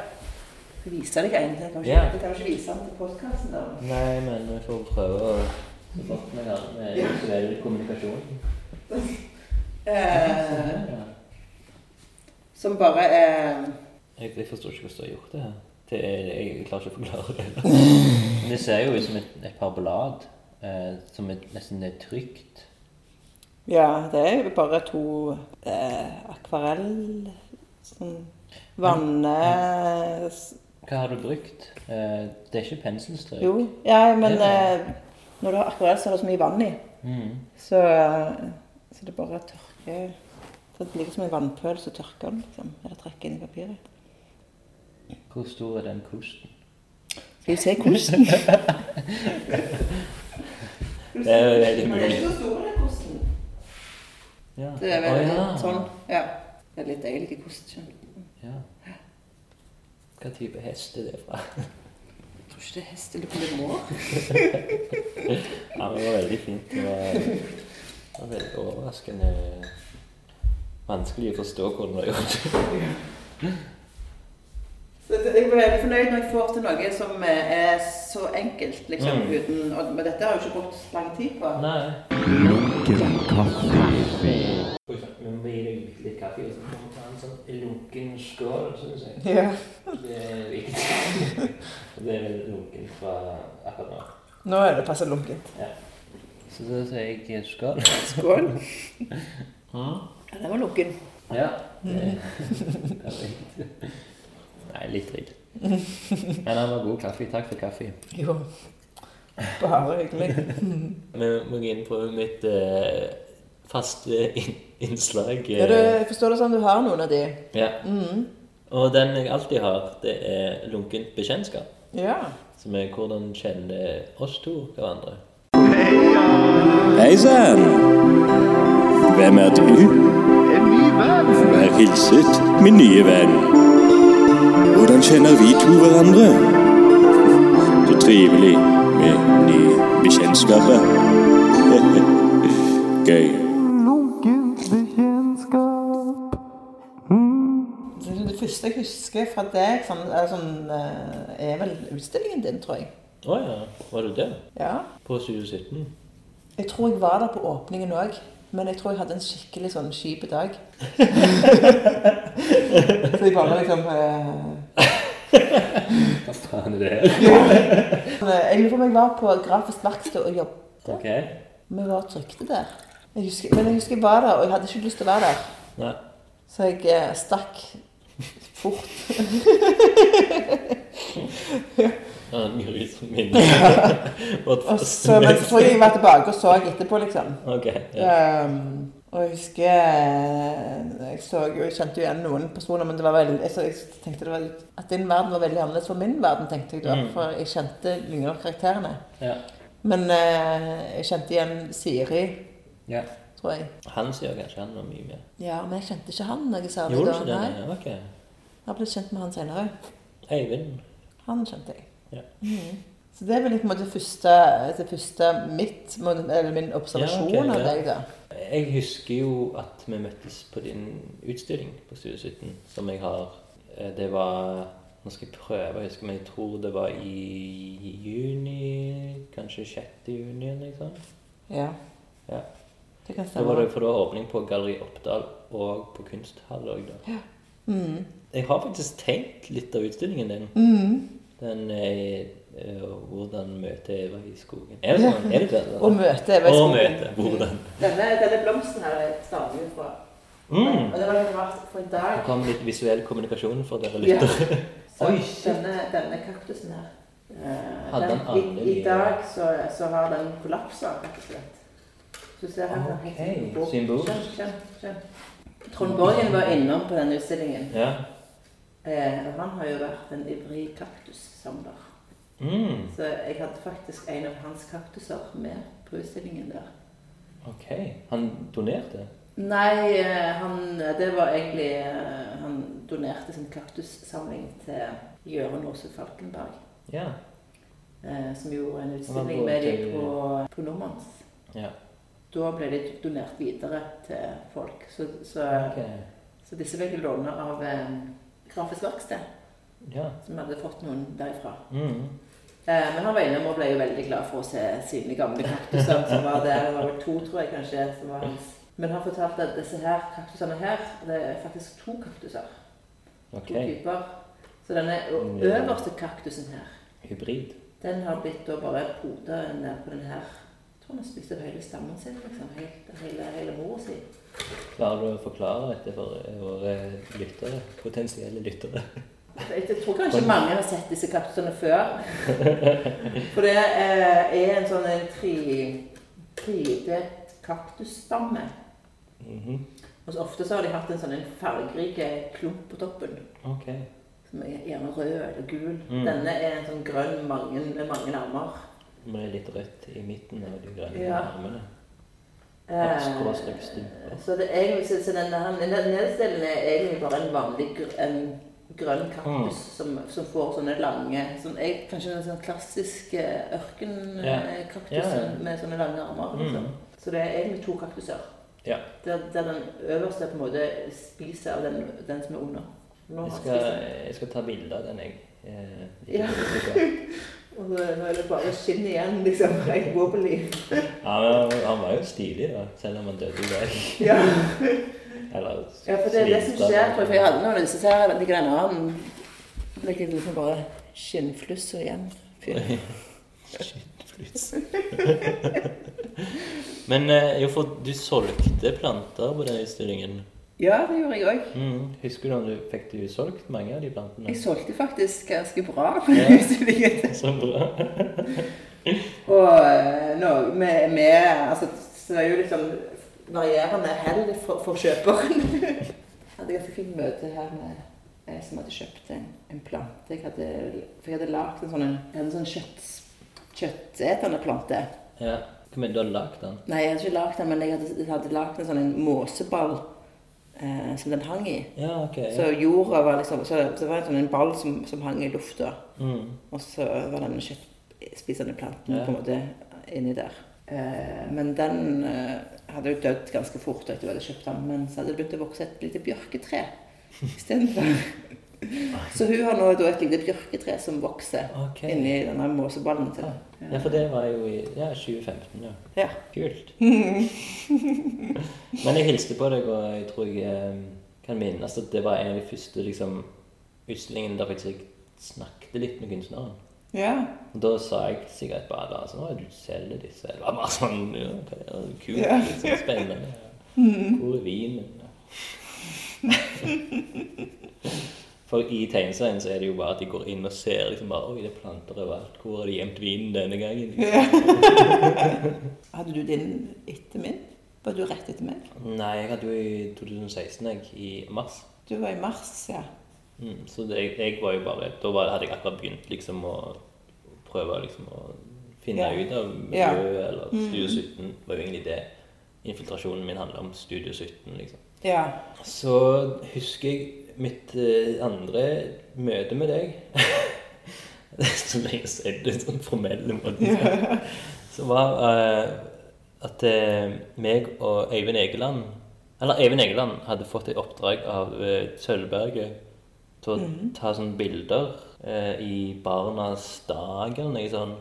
Jeg viser deg en. Jeg kan ikke, Ja. jeg kan ikke vise den til podkasten. Nei, men vi får prøve å Godt med, her, med visuell kommunikasjon. Eh, Ja. som bare er Jeg, jeg forstår ikke hvordan du har gjort det her. Det, jeg, jeg klarer ikke å forklare det. Men Det ser jo ut som et, et parblad eh, som er nesten er trygt. Ja, det er jo bare to eh, akvarell Sånn vanne Hva har du brukt? Eh, det er ikke penselstrøk? Jo. Ja, men Ja. eh, når du har akvarell, så er det så mye vann i. Mm. Så, så det bare tørker så Det ligger som en vannpøl, så tørker den. liksom. Eller trekker inn i papiret. Hvor stor er den kosten? Skal vi se kosten? Det er jo veldig mulig. så stor, den kosten. Ja. Det er vel Å, ja. sånn. Ja. Det er litt deilig kost. skjønner du. Ja. Hva type hest er det fra? Jeg tror ikke det er hest eller på det må. Ja, men Det var veldig fint. Det var Det var veldig overraskende vanskelig å forstå hvordan det var gjort. Så det- Jeg blir veldig fornøyd når jeg får til noe som eh, er så enkelt, liksom, Mm. uten og, Men dette har jeg jo ikke brukt lang tid på. Nei. Lunken kaffe. For eksempel, vi må gi deg litt, litt kaffe, og så må du ta en sånn lunken skål, synes jeg. Ja. Det er viktig. det er veldig lunken fra akkurat nå. Nå er det passe lunkent. Så da sier jeg skål. Skål. Ja, den var lunken. Ja. Mm. Det, det er riktig. Nei, litt dritt. Men han var god kaffe. Takk for kaffe. Jo. Bare hyggelig. Vi må gå inn på mitt eh, faste in innslag. eh, Ja, du, jeg forstår det sånn du har noen av de. ja. Mm. Og den jeg alltid har, det er lunkent bekjentskap. Ja. Som er hvordan kjenner oss to hverandre. Hei sann! Hvem er du? Vær hilset, min nye venn. Hvordan kjenner vi to hverandre? Så trivelig med nye bekjentskaper. Gøy. Det, det første jeg husker fra deg, sånn, er, sånn, eh, er vel utstillingen din, tror jeg. Å ja, var du der? Ja. På 2017? Jeg tror jeg var der på åpningen òg, men jeg tror jeg hadde en skikkelig sånn kjip dag. Så jeg bare liksom eh, Hva faen er det her? eh, Jeg lurer på om jeg var på grafisk verksted og jobb. Ok. Vi var og trykte der. Jeg husker, men jeg husker jeg var der, og jeg hadde ikke lyst til å være der. Nei. Så jeg eh, stakk fort. Ja, mye som minner. Vårt Og så, men så tror jeg jeg var tilbake og så etterpå, liksom. Ok. Ja. Ehm, og jeg husker eh, Jeg så jo, jeg kjente jo igjen noen personer, men det var veldig, jeg, så, jeg tenkte det var litt, at din verden var veldig annerledes for min verden, tenkte jeg da. Mm. For jeg kjente ingen av karakterene. ja. Men eh, jeg kjente igjen Siri, ja. tror jeg. Han sier kanskje han var mye mer. Ja, men jeg kjente ikke han når jeg sa det. Gjorde du da, ikke det? nei. Nei, Ok. Jeg ble kjent med han senere. Eivind. Han kjente jeg. Ja. Mhm. Så det er vel på en måte første, det første mitt, må- eller min observasjon Ja, ok, av ja. deg, da. Jeg husker jo at vi møttes på din utstilling på Studio 17, som jeg har. Eh, Det var Nå skal jeg prøve å huske, men jeg tror det var i juni Kanskje 6. juni eller noe sånt. Ja. Ja. Det kan Da var stemme. det for det var åpning på Galleri Oppdal og på Kunsthall òg, da. Mhm. Jeg har faktisk tenkt litt av utstillingen din. Mhm. Den eh, eh, 'Hvordan møte Eva i skogen'. Er det sånn? Er det det? Og møte Eva i Og skogen. møte. Hvordan? Denne, denne blomsten her stammer jo fra Mm. Og det var litt rart, for i Det dag kom litt visuell kommunikasjon for dere Ja. lyttere. så Oi, shit. denne, denne kaktusen her eh, Hadde den, han i, I aldri- dag så, så har den kollapsa, rett og slett. Så du ser her Ok, okay. symbol. Kjenn, kjenn, kjenn. Trond Borgen var innom på denne utstillingen. Ja. Eh, og han har jo vært en ivrig kaktussamler. Mm, Så jeg hadde faktisk en av hans kaktuser med på utstillingen der. ok. Han donerte? Nei, eh, han, det var egentlig eh, Han donerte sin kaktussamling til Jørund Aase Falkenberg. Ja. eh, Som gjorde en Han utstilling var med til- dem på, på Normans. Ja. Da ble de donert videre til folk. Så, så, Ok. så disse fikk jeg låne av eh, Grafisk Verksted, Ja. som hadde fått noen derifra. Mm. Eh, Men han var innom og ble jo veldig glad for å se sine gamle kaktuser som var der. Det var vel to, tror jeg kanskje, som var hans. Men han fortalte at disse her kaktusene her, det er faktisk to kaktuser. Ok. Mm, To typer. Så denne ø- Ja. øverste kaktusen her, Hybrid. den har blitt da bare poda ned på den her. Jeg tror han har spist opp hele stammen sin, liksom. Helt, hele, hele mora si. Klarer du å forklare dette for eh, våre lyttere? Potensielle lyttere? Jeg jeg tror kanskje mange har sett disse kaktusene før. For det eh, er en sånn en tri- tredelt kaktusstamme. Mhm. Og så Altså, ofte så har de hatt en sånn en fargerik klump på toppen, Ok. som er gjerne rød eller gul. Mm. Denne er en sånn grønn mange, med mange armer. Men det er litt rødt i midten av de grønne Ja. armene. Ja, skråstrek stumper. Eh, så det er egentlig, så, så denne her den nederste delen er egentlig bare en vanlig gr en grønn Mm. kaktus som, som får sånne lange sånn, jeg, Kanskje en sånn klassisk eh, Ja. ørkenkaktus Ja, ja. med sånne lange armer. Mm. Liksom. Så det er egentlig to kaktuser. Ja. Der, der den øverste på en måte spiser av den, den som er under. Nå har Jeg han skal, spist den. jeg skal ta bilde av den, jeg. Eh, ikke Ja. så sikker. Og nå nå er det bare skinn igjen, liksom. Jeg går på liv. Ja, men han- han var jo stilig, da, selv om han døde i dag. Ja. Eller ja, for det er det som svinstad. skjer. tror jeg, For jeg hadde noen av disse så her, ligger en annen Ligger liksom bare skinnflusser igjen. Fy. Men eh, jo, for du solgte planter på den utstillingen. Ja, det gjorde jeg òg. Mm. Husker du om du fikk du solgt mange av de plantene? Jeg solgte faktisk ganske bra på Ja. den utstillingen. Så bra. Og eh, nå, med, med altså, Så det er jo litt sånn varierende hell for, for kjøperen. jeg hadde et ganske fint møte her med ei som hadde kjøpt en, en plante. Jeg hadde, for jeg hadde lagd en sånn, en sånn kjøtt, kjøttetende plante. Ja. Hva mener du har lagd den? Nei, jeg hadde ikke lagd den, men jeg hadde, jeg hadde lagd en sånn en måseball eh, som den hang i. Ja, ok. Ja. Så jorda var liksom Så, så var det en sånn en ball som, som hang i lufta. Mm. Og så var den kjøttspisende planten Ja. på en måte inni der. Eh, men den eh, hadde jo dødd ganske fort etter at du hadde kjøpt den. Men så hadde det begynt å vokse et lite bjørketre istedenfor. så hun har nå da et lite bjørketre som vokser Ok. Ah, inni denne måseballen til. Ja, for det var jo i ja, 2015, ja. Ja. Kult. Men jeg hilste på deg, og jeg tror jeg eh, kan minnes at det var en av de første liksom, utstillingene der faktisk jeg snakket litt med kunstneren. ja. Og da sa jeg sikkert bare da sånn, «Å, du selger disse. Det var bare sånn, ja, hva er det kult, Ja. liksom, spennende. Hvor er vinen? For i tegneserien så er det jo bare at de går inn og ser liksom bare, oi, det er planter overalt. Hvor har de gjemt vinen denne gangen? Hadde du din etter min? Var du rett etter meg? Nei, jeg hadde jo i 2016, jeg, i mars. Du var i mars, ja. Mm, så det, jeg, jeg var jo bare Da var, hadde jeg akkurat begynt liksom å prøve liksom å finne Ja. ut av Ja. Mm. miljøet eller Studio 17. var jo egentlig det infiltrasjonen min handla om. Studio 17, liksom. Ja. Så husker jeg mitt eh, andre møte med deg Det er så lenge siden. Det er sånn formelle måten. Som var eh, at eh, meg og Øyvind Egeland Eller Øyvind Egeland hadde fått et oppdrag av eh, Sølvberget til å ta sånne bilder eh, i Barnas dag eller noe sånt.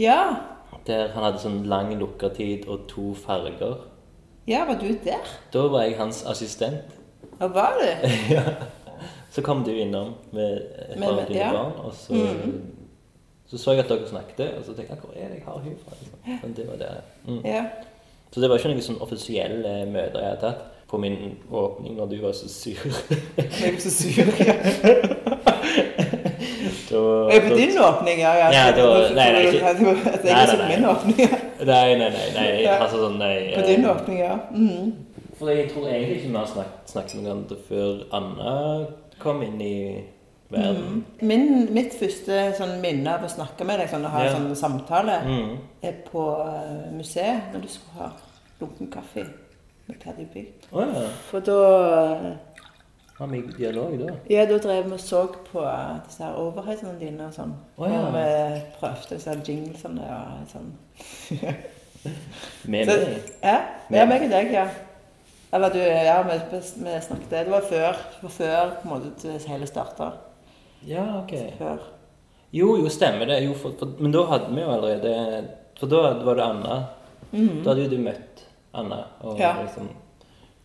Ja, Der han hadde sånn lang lukkertid og to farger. ja var du der? Da var jeg hans assistent. Og var du? Ja. Så kom du innom med et Med- par av med- dine ja. Mm. barn, og så, så så jeg at dere snakket, og så tenkte jeg hvor er det jeg har hun fra? Liksom. Men det var det. Mm. Ja. Så det var ikke noen sånn offisielle møter jeg hadde tatt på min åpning når du var så sur. Jeg var så sur. Ja. da, Og jeg på da- din åpning, ja. ja. Ja, det var- nei, nei, ikke- At jeg Nei, nei, er som nei. min åpning, ja. Nei, nei, nei. nei Ja. altså sånn, nei. På eh, din åpning, ja. Mm. For jeg tror egentlig ikke vi har snakket, snakket med hverandre før Anna kom inn i verden. Min, mitt første sånn minne av å snakke med deg, sånn å ha Ja. en sånn samtale, Mm. er på eh, museet, når du skulle ha lunken kaffe med Terje Bygd. Å ja. For da Har vi dialog da? Ja, da drev vi og så på eh, disse her overheisene dine og sånn. Å, ja. Og vi prøvde disse her jinglesene og sånn. Med Så, meg? ja, ja, meg og deg, ja. Eller du, ja, vi, vi snakket Det var før, det var før på en måte det hele starta. Ja, ok. Før. Jo, jo, stemmer det. Jo, for, for, men da hadde vi jo allerede For da var det Anna. Da hadde jo du møtt Anna. Og Mhm. Ja. liksom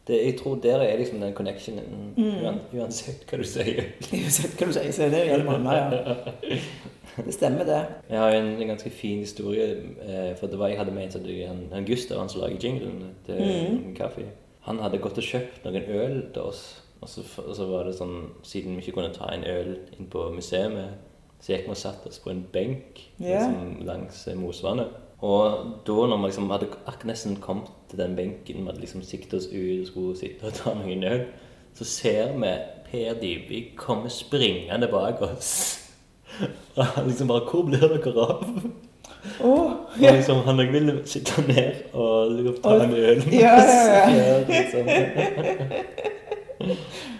det, Jeg tror der er liksom den connectionen Mhm. uan, uansett hva du sier. Uansett hva du sier, så er det jo en måned, ja. Det stemmer, det. Jeg har jo en, en ganske fin historie. Eh, for det var jeg hadde ment at du- han, han Gustav, han som lager jinglen til Mhm. kaffe Han hadde gått og kjøpt noen øl til oss. Og så, f- og så var det sånn, siden vi ikke kunne ta en øl inn på museet, så gikk vi og satte oss på en benk Ja. liksom, langs eh, Mosvannet. Og da når vi liksom hadde ak- nesten kommet til den benken, vi hadde liksom siktet oss ut og skulle sitte og ta noen øl, så ser vi Per Dybvik komme springende bak oss. Og han liksom bare 'Hvor blir dere av?' Å! Og liksom, han òg ville sitte ned og liksom, ta en øl. Ja, ja, ja. Ja, liksom.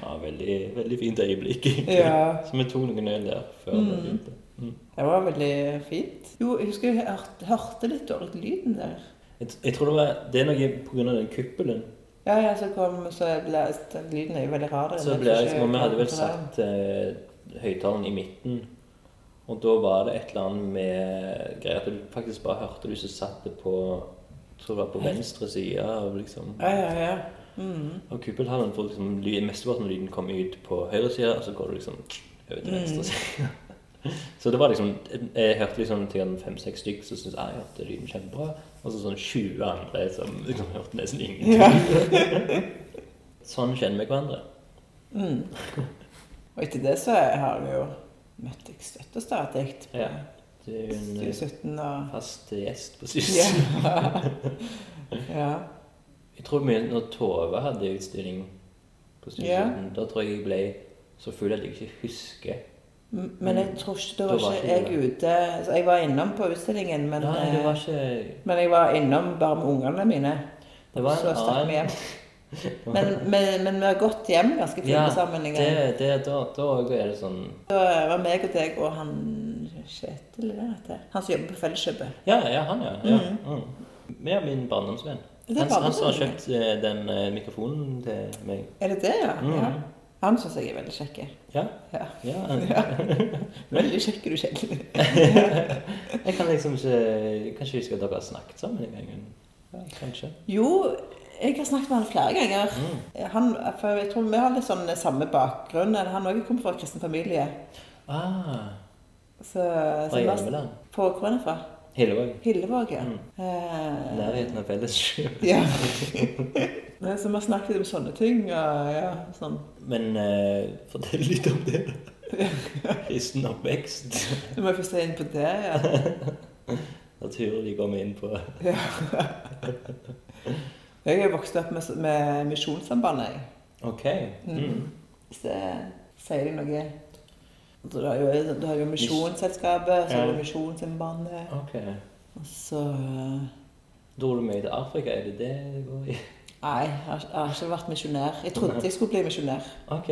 ja veldig, veldig fint øyeblikk, egentlig. Ja. Så vi tok noen øl der før vi begynte. Mm. Det var veldig fint. Jo, jeg husker jeg hørte, hørte litt dårlig lyden der. Jeg, jeg tror det, var, det er noe pga. den kuppelen. Ja, ja, så kom så ble, den Lyden er jo veldig rar. Så ble jeg liksom, og Vi hadde vel satt eh, høyttaleren i midten. Og da var det et eller annet med greier at du faktisk bare hørte du som satt det på jeg tror det var på venstre side av liksom, Ja, ja, ja. Mm. av kuppelhallen. For liksom, ly- mesteparten av lyden kom ut på høyre side, og så går du liksom over til Mm. venstre side. Så det var liksom, Jeg hørte liksom til fem-seks stykker som syntes jeg hørte lyden kjempebra. Og så sånn 20 andre som liksom hørte nesten ingenting. Sånn kjenner vi hverandre. mm. Og etter det så har vi jo møtt deg støtt og stadig. Ja. Du er jo en eh, 2017 og fast gjest på SUS. Ja. ja. Jeg tror mye når Tove hadde utstilling på Studio Ja. 17, da tror jeg jeg ble så full at jeg ikke husker. M- Men jeg tror ikke, da Da var var ikke ikke jeg ute så Jeg var innom på utstillingen, men, Nei, det var eh, ikke men jeg var innom bare med ungene mine. Det var så en stakk vi annen hjem. Men, men, men vi har gått hjem ganske flinke Ja, sammen. en gang. det, det, da, da er det sånn Da var meg og deg og han Kjetil eller hva heter det? Han som jobber på Felleskjøpet. Ja, ja, han, ja. ja. Mm. Med min barndomsvenn. Mhm. Det er Han, han som har barndomsvennen, kjøpt eh, den eh, mikrofonen til meg. Er det det, ja? Mm. ja. Han syns jeg er veldig kjekk. Ja. Ja. ja. Ja. Veldig kjekk er du, Kjetil. Jeg kan liksom ikke jeg kan ikke huske at dere har snakket sammen en gang. Ja, kanskje. Jo, jeg har snakket med han flere ganger. Mm. Han, for jeg tror vi har litt sånn samme bakgrunn. eller Han òg kommer fra en kristen familie. Ah, Så, så fra vi har- Hjelmeland. på hvor er han fra? Hillevåg. Hillevåg, ja. Mm. Eh, Nærheten av fellesskjøp. ja. Men så vi har snakket om sånne ting. Og, ja, sånn. Men eh, fortell litt om det. Kristen oppvekst. Du må først inn på det. Ja. Naturlig kom inn på Ja. Jeg er vokst opp med, med Misjonssambandet. jeg. Ok. Mm. Mm. Hvis det sier deg noe Du har jo, du har jo Misjonsselskapet, så har du Ja. Misjonssambandet Ok. og Så eh, Dro du mye til Afrika? Er det det det går i? Nei, jeg har, jeg har ikke vært misjonær. Jeg trodde jeg skulle bli misjonær. Ok.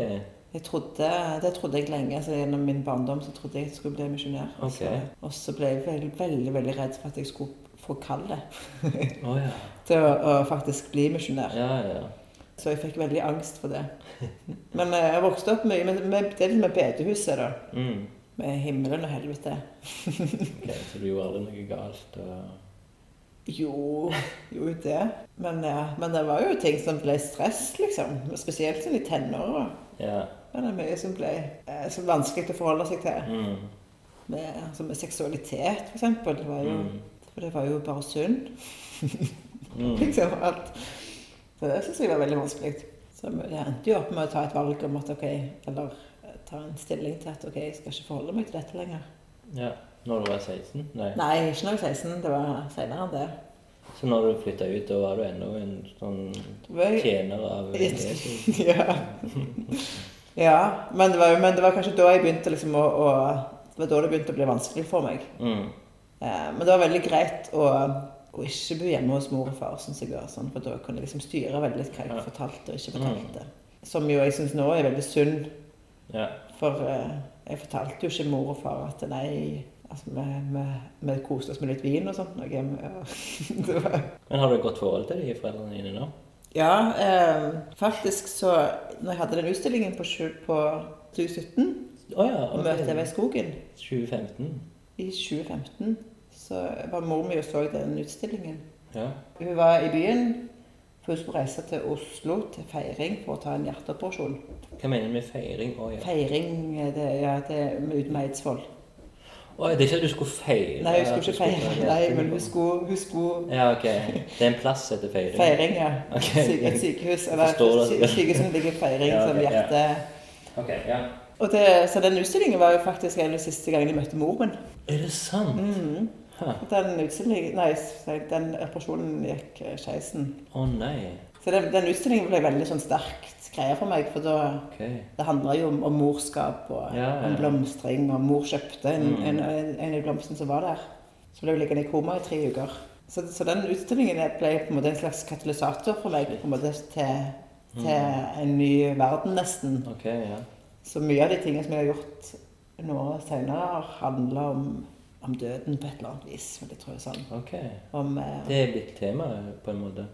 Jeg trodde, Det trodde jeg lenge. så Gjennom min barndom så trodde jeg jeg skulle bli misjonær. Og så- Ok. Og så ble jeg veldig, veldig, veldig redd for at jeg skulle få kallet Å ja. til å, å faktisk bli misjonær. Ja, ja. Så jeg fikk veldig angst for det. Men eh, jeg vokste opp mye med, med det med bedehuset, da. Mm. Med himmelen og helvete. Ok, Så du gjorde aldri noe galt? Og... Jo, jo det. Men, ja, men det var jo ting som ble stress, liksom. Spesielt sånn i tenåra. Ja. Men det er mye som ble eh, så vanskelig å forholde seg til. Mm. Med, altså med seksualitet, for eksempel. Det var jo, Mm. For det var jo bare synd. Mm. Liksom alt. Så det syns jeg var veldig vanskelig. Så det endte jo opp med å ta et valg om at ok, eller eh, ta en stilling til at ok, jeg skal ikke forholde meg til dette lenger. ja. Når du var 16? Nei. Nei, ikke når jeg var 16, det var senere enn det. Så når du flytta ut, da var du ennå en sånn Det var jo- tjener av Jesus? ja. ja men, det var, jo- men det var kanskje da jeg begynte liksom å, å Det var da det begynte å bli vanskelig for meg. Mm. Eh, men det var veldig greit å, å ikke bo hjemme hos mor og far, synes jeg var sånn, for da kunne jeg liksom styre veldig hva jeg Ja. fortalte og ikke Mm. fortalte. Som jo jeg syns nå er veldig synd. Ja. For eh, jeg fortalte jo ikke mor og far at nei, altså vi, vi, vi koste oss med litt vin og sånt. Noe. men, ja. Det var- Men har du et godt forhold til de foreldrene dine nå? ja, eh, faktisk så Når jeg hadde den utstillingen på, sju- på 2017, Å ja. og ok. møtte jeg ved skogen 2015. i 2015, så var mor mi og så den utstillingen. Ja. Hun var i byen, for hun skulle reise til Oslo til feiring for å ta en hjerteoperasjon. Hva mener du med feiring? Å ja. Feiring eh, det, ja, det er ute med Eidsvoll. Å, ja, det er ikke at du skulle feire? Nei, hun skulle ikke at du feire, ta nei, hjertet. men hun skulle, hun skulle Ja, ok. Det er en plass etter feiring? feiring, ja. Ok. Syke- Et sykehus, eller Forstår det. sy- sykehus som ligger i feiring Ja, som ok, ja. hjerte... Ok, ja. Og det, så den utstillingen var jo faktisk en av de siste gangene jeg møtte mor min. Er det sant? Mhm. Hæ. Den utstillingen, nei, sorry, den operasjonen gikk eh, skeisen. Å nei. Så den, den utstillingen ble veldig sånn sterkt greie for meg, for da Ok. det handler jo om, om morskap Ja, og ja, ja. om blomstring, og mor kjøpte en, Mhm. en, en, en av blomstene som var der. Så ble hun liggende i koma i tre uker. Så, så den utstillingen ble på en måte en slags katalysator for meg på en måte til, til Mm. en ny verden, nesten. Ok, ja. Så mye av de tingene som jeg har gjort nå senere, har handla om om døden på et eller annet vis. vil jeg tro sånn. Ok. Om eh, Det er blitt tema, på en måte.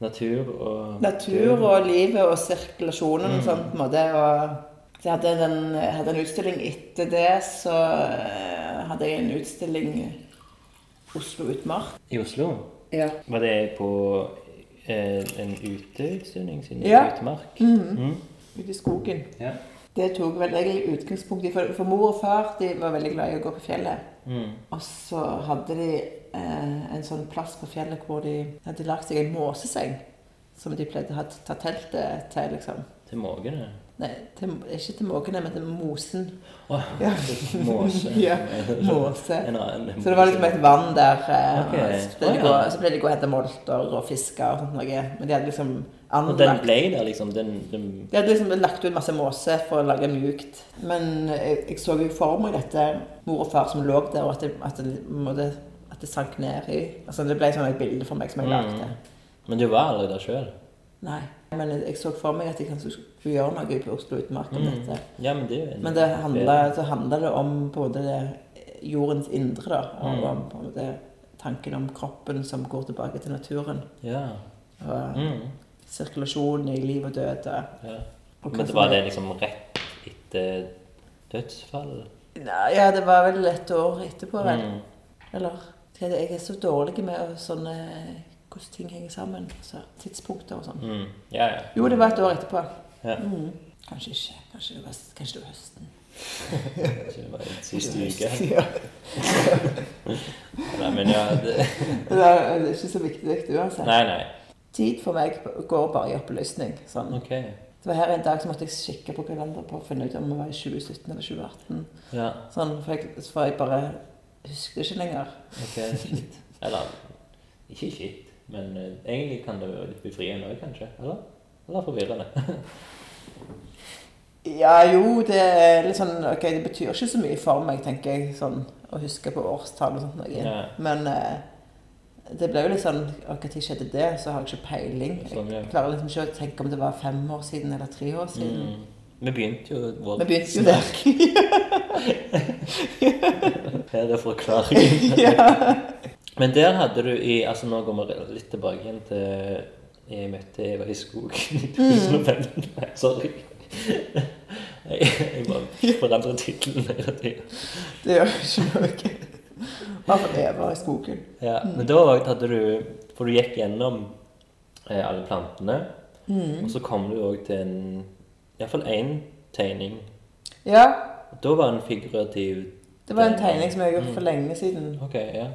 Natur og natur og livet og sirkulasjonen og sånn på en måte. Og jeg hadde, den, jeg hadde en utstilling etter det, så eh, hadde jeg en utstilling Oslo Utmark. I Oslo Ja. var det på eh, en uteutstilling siden Ja. Mhm. utmark. Mhm. Ute i skogen. Ja. Det tok vel jeg utgangspunkt i, for, for mor og far de var veldig glad i å gå på fjellet. Mhm. Og så hadde de eh, en sånn plass på fjellet hvor de hadde lagt seg en måseseng. Som de pleide å ha ta teltet til, liksom. Til mågene. Nei, til, ikke til måkene, men til mosen. Åh, Ja. Måse. Ja, måse. En annen Så det var liksom et vann der. Eh, Ok. og så, ble de Å, gå, ja. så ble de gå og hente molter og fiske og sånt noe. Men de hadde liksom Og den anlagt ble der, liksom. Den, den De hadde liksom lagt ut masse måse for å lage mjukt. Men jeg, jeg så jo for meg dette mor og far som lå der, og at det, at det, måtte, at det sank ned i altså Det ble sånn et bilde for meg som Mm. jeg lagde. Men du var aldri der sjøl? Nei. Men jeg så for meg at jeg kanskje skulle gjøre noe på Oslo Utmark om Mm. dette. Ja, men det er jo en Mm. Men det handla, så handla det om både det eh, jordens indre, da, og Mm. om på en måte tanken om kroppen som går tilbake til naturen. Ja. Og Mm. sirkulasjon i liv og død. og- ja. Og hva Men det som var er- det liksom rett etter dødsfallet? Nei, ja, det var vel et år etterpå, vel. Mm. Eller jeg jeg er så dårlig med å sånne, eh, hvordan ting henger sammen. Så tidspunkter og sånn. Mm. Ja, ja. Jo, det var et år etterpå. Ja. Mm. Kanskje ikke. Kanskje det var, kanskje det var høsten. Kanskje det var en siste uke. Ja. Nei, men ja det... Det er eh, det altså. er ikke så viktig uansett. Nei, nei. Tid for meg går bare i oppløsning. Sånn. Ok. Det var her en dag så måtte jeg kikke på kalenderen på å finne ut om det var i 2017 eller 2018. Ja, Sånn, for, jeg, for jeg bare husker ikke lenger. ok. Shit. Eller ikke shit, men eh, egentlig kan det være litt befriende òg, kanskje? Eller? Eller forvirrende? Ja, jo, det er litt sånn Ok, det betyr ikke så mye for meg, tenker jeg, sånn å huske på årstall og sånt noe. Ja. Men eh, det ble jo litt sånn Og når skjedde det? Så har jeg ikke peiling. Sånn, ja. Jeg klarer liksom ikke å tenke om det var fem år siden eller tre år siden. Mm. Vi begynte jo vår Vi begynte jo der. Her er forklaringen. ja. Men der hadde du i Altså, nå går vi litt tilbake igjen til jeg møtte Eva i skogen i 2005. Nei, sorry. Jeg, jeg bare forandrer tittelen hele tiden. Det gjør ikke noe. Bare leve i skogen. Ja, men da var- hadde du For du gikk gjennom eh, alle plantene. Mm. Og så kom du òg til en Iallfall én tegning. Ja. Og Da var den figurativ. Det var en tegning som jeg har gjort for lenge siden. Ok, ja.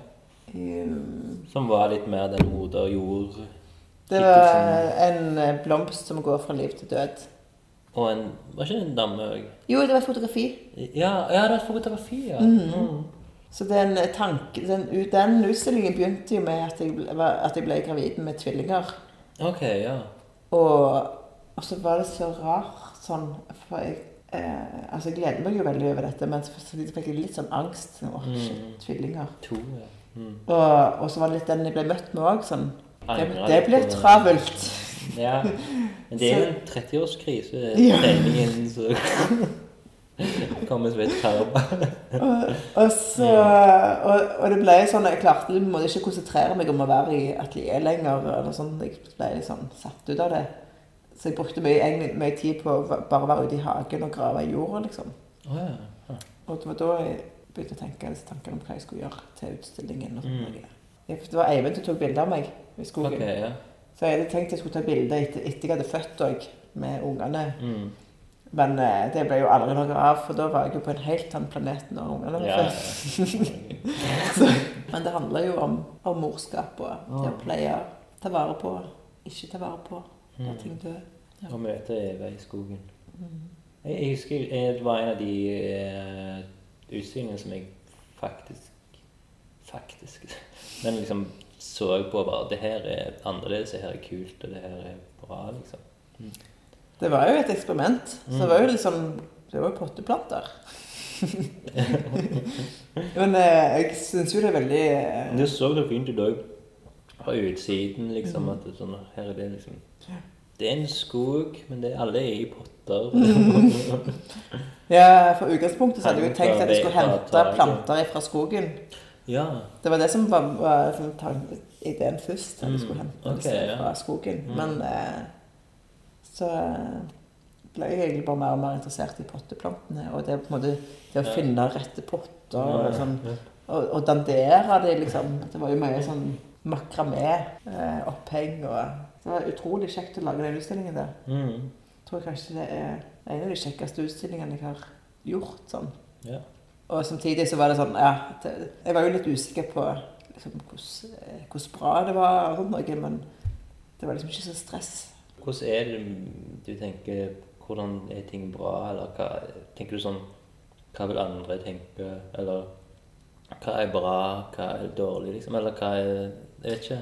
Um, Som var litt mer den moder jord Det var en eh, blomst som går fra liv til død. og en Var ikke det en dame òg? Jo, det var et fotografi. Ja, ja, det var et fotografi, ja. Mm. Så den, eh, tank, den, u- den utstillingen begynte jo med at jeg, ble- var- at jeg ble gravid med tvillinger. Ok, ja. Og, og så var det så rart sånn For jeg, eh, altså jeg gleder meg jo veldig over dette, men så så fikk jeg litt sånn angst. Sånn, Åh, shit, tvillinger. To, ja. Mm. Og, og så var det litt den jeg ble møtt med òg. Sånn, det, Angrer det litt blir på- travelt. Ja. Men det er jo Så- en 30-årskrise, Ja. tegningen som kommer som et karma. Og, så, og, og det ble sånn Jeg klarte på en måte ikke å konsentrere meg om å være i atelier lenger. Eller sånn. Jeg ble litt sånn satt ut av det. Så jeg brukte mye, egentlig mye tid på å va- bare være ute i hagen og grave i jorda, liksom. Å ja. ja. Og det var da jeg begynte å tenke disse tankene om hva jeg skulle gjøre til utstillingen. og Mm. sånt. noe. Ja, for Det var Eivind som tok bilder av meg i skogen. Ok, ja. Så jeg hadde tenkt jeg skulle ta bilder etter, etter jeg hadde født òg, med ungene. Mm. Men eh, det ble jo aldri noe av, for da var jeg jo på en helt annen planet når ungene var Ja, født. Så, men det handler jo om, om morskap og det å pleie, ta vare på, ikke ta vare på, Mm. la ting dø. Å møte Eva i skogen. Mm. Jeg, jeg husker eh, det var en av de eh, utstillingene som jeg faktisk Faktisk Men liksom så på bare Det her er annerledes, det her er kult, og det her er bra, liksom. Det var jo et eksperiment, så Mm. det var jo liksom Det var jo potteplanter. men eh, jeg syns jo det er veldig eh, Men Du så det fint ut òg. Fra utsiden, liksom. At det, er sånn, her er det liksom Det er en skog, men det er alle er i potter. Ja, for utgangspunktet så hadde jeg jo Hente tenkt at jeg skulle ved- hente ta- planter fra skogen. ja. Det var det som var, var som tanken- ideen først, at jeg skulle Mm, hente ok, disse ja. fra skogen. Mm. Men eh, så eh, ble jeg egentlig bare mer og mer interessert i potteplantene. Og det, er på en måte, det å Ja. finne rette potter og, sånn, Ja. og, og dandere de, liksom. Det var jo mye sånn makramé-oppheng. og det var utrolig kjekt å lage den utstillingen der. Mm. Jeg tror kanskje det er en av de kjekkeste utstillingene jeg har gjort. sånn. ja. Og samtidig så var det sånn, ja, det, jeg var jo litt usikker på liksom, hvordan eh, hvordan bra det var og sånn noe, men det var liksom ikke så stress. Hvordan er det du tenker Hvordan er ting bra, eller hva Tenker du sånn Hva vil andre tenke, eller Hva er bra, hva er dårlig, liksom, eller hva er Jeg vet ikke.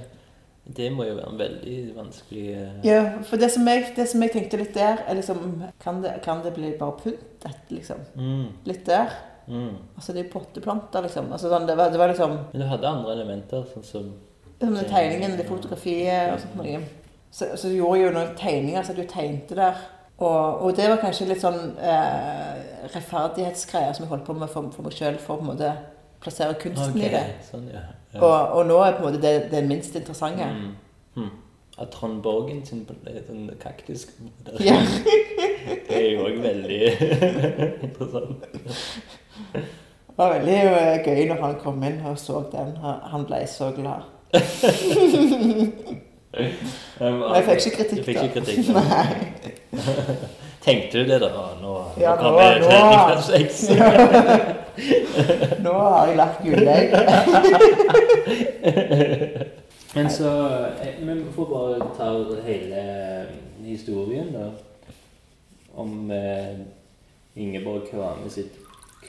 Det må jo være en veldig vanskelig eh, Ja, for det som jeg, det som jeg tenkte litt der, er liksom, kan det, kan det bli bare pyntet, liksom? mm, Litt der. mm. Altså, det er potteplanter, liksom. Altså, sånn, det, var, det var liksom Men du hadde andre elementer, sånn som Som den tegningen, det fotografiet og sånt noe. Så, så gjorde jeg jo noen tegninger som du tegnte der. Og, og det var kanskje litt sånn eh, rettferdighetsgreier som jeg holdt på med for, for meg sjøl, for å på en måte plassere kunsten Ok, i det. Sånn, ja. ja. Og, og nå er på en måte det, det minst interessante. Mm. Hm. At Trond Borgen sin eh, sånn kaktus Ja. Det er jo òg veldig interessant. Det var veldig eh, gøy når han kom inn og så den. Han han ble så glad. Men jeg fikk ikke kritikk, Du fikk ikke da. kritikk, da. Nei. Tenkte du det, da? Å, Nå, Ja, nå nå- kommer nå- tredjeplass seks. Nå har jeg lagt gullegg. Men så eh, Men vi får bare ta hele eh, historien, da. Om eh, Ingeborg Kvame sitt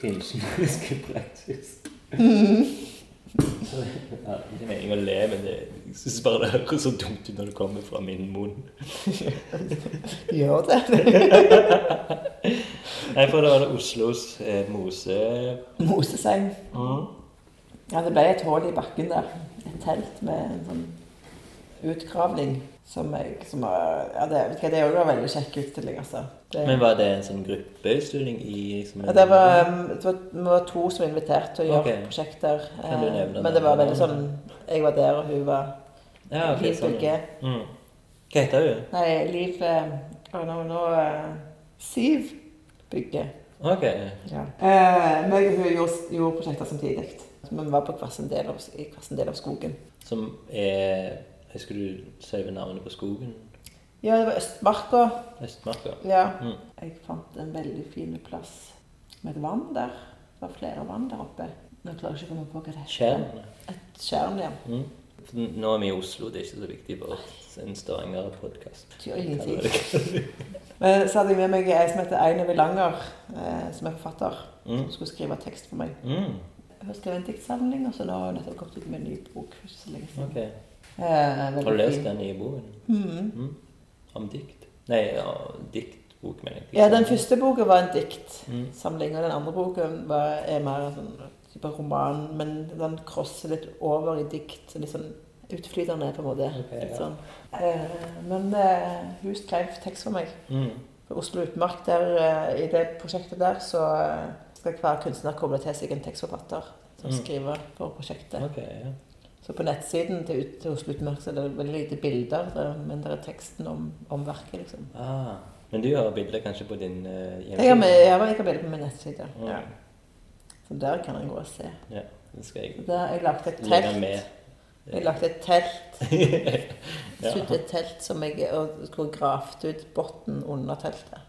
kunstneriske praksis. Mhm. Ja, det er ikke meningen å le, men det, jeg syns bare det høres så dumt ut når det kommer fra min munn. Gjør det. Nei, for det var det Oslos eh, mose... Moseseng. Mm. Mhm. Ja, det ble et hull i bakken der. Et telt med en sånn utgravning. Som jeg, som var, ja, det, vet du hva, det var veldig kjekk utstilling, altså. Det, Men var det en sånn gruppeutstilling i liksom, ja, det, var, um, det, var, det var to som inviterte til å Ok. gjøre prosjekter. Kan du nevne men det? det var veldig sånn Jeg var der, og hun var ja, ok, Liv sånn, ja. Bugge. Mm. Hva heter hun? Nei, Liv eh, Å, nå, nå eh, Siv Bygge. Ok. Ja. Eh, men hun gjorde, gjorde prosjekter samtidig. Men vi var på hver sin del av, i hver sin del av skogen. Som er Husker du selve navnet på skogen? Ja, det var Østmarka. Østmarka? Ja. Mm. Jeg fant en veldig fin plass med et vann der. Det var flere vann der oppe. Nå klarer jeg ikke å komme på hva det heter. Tjern? Et tjern, ja. Mm. For Nå er vi i Oslo, det er ikke så viktig for en Stavanger-podkast. Det gjør ingenting. Men så hadde jeg med meg ei som heter Eine Villanger, eh, som er forfatter. Mm. Som skulle skrive tekst for meg. Mm. Hun skrev en diktsamling, og så nå har hun nettopp kommet ut med en ny bok. for ikke så lenge siden. Ok. Eh, veldig Har du lest fin. den nye boken? Mhm. Mm. Om dikt? Nei, ja, diktbok, mener jeg. Ja, den første boka var en Mm. diktsamling, og den andre boka var, er mer en sånn type roman, men den crosser litt over i dikt. Litt sånn utflytende, på en måte. Ok, ja. litt sånn. Eh, men eh, hun skrev tekst for meg. Mm. På Oslo Utmark, der, eh, i det prosjektet der, så eh, skal hver kunstner koble til seg en tekstforfatter som Mm. skriver for prosjektet. Ok, ja. Så på nettsiden til, ut- til Oslo Utmark så er det veldig lite bilder, det- men der er teksten om, om verket, liksom. Ah. Men du har bilder kanskje på din eh, hjemmeside? Jeg har, med, jeg har, jeg har bilder på min nettside. Mm. Ja. Så der kan en gå og se. Ja, det skal jeg Så Der har jeg lagt et legge telt. med. Jeg har lagt et telt, Ja. sydd et telt som jeg og skulle gravd ut bunnen under teltet.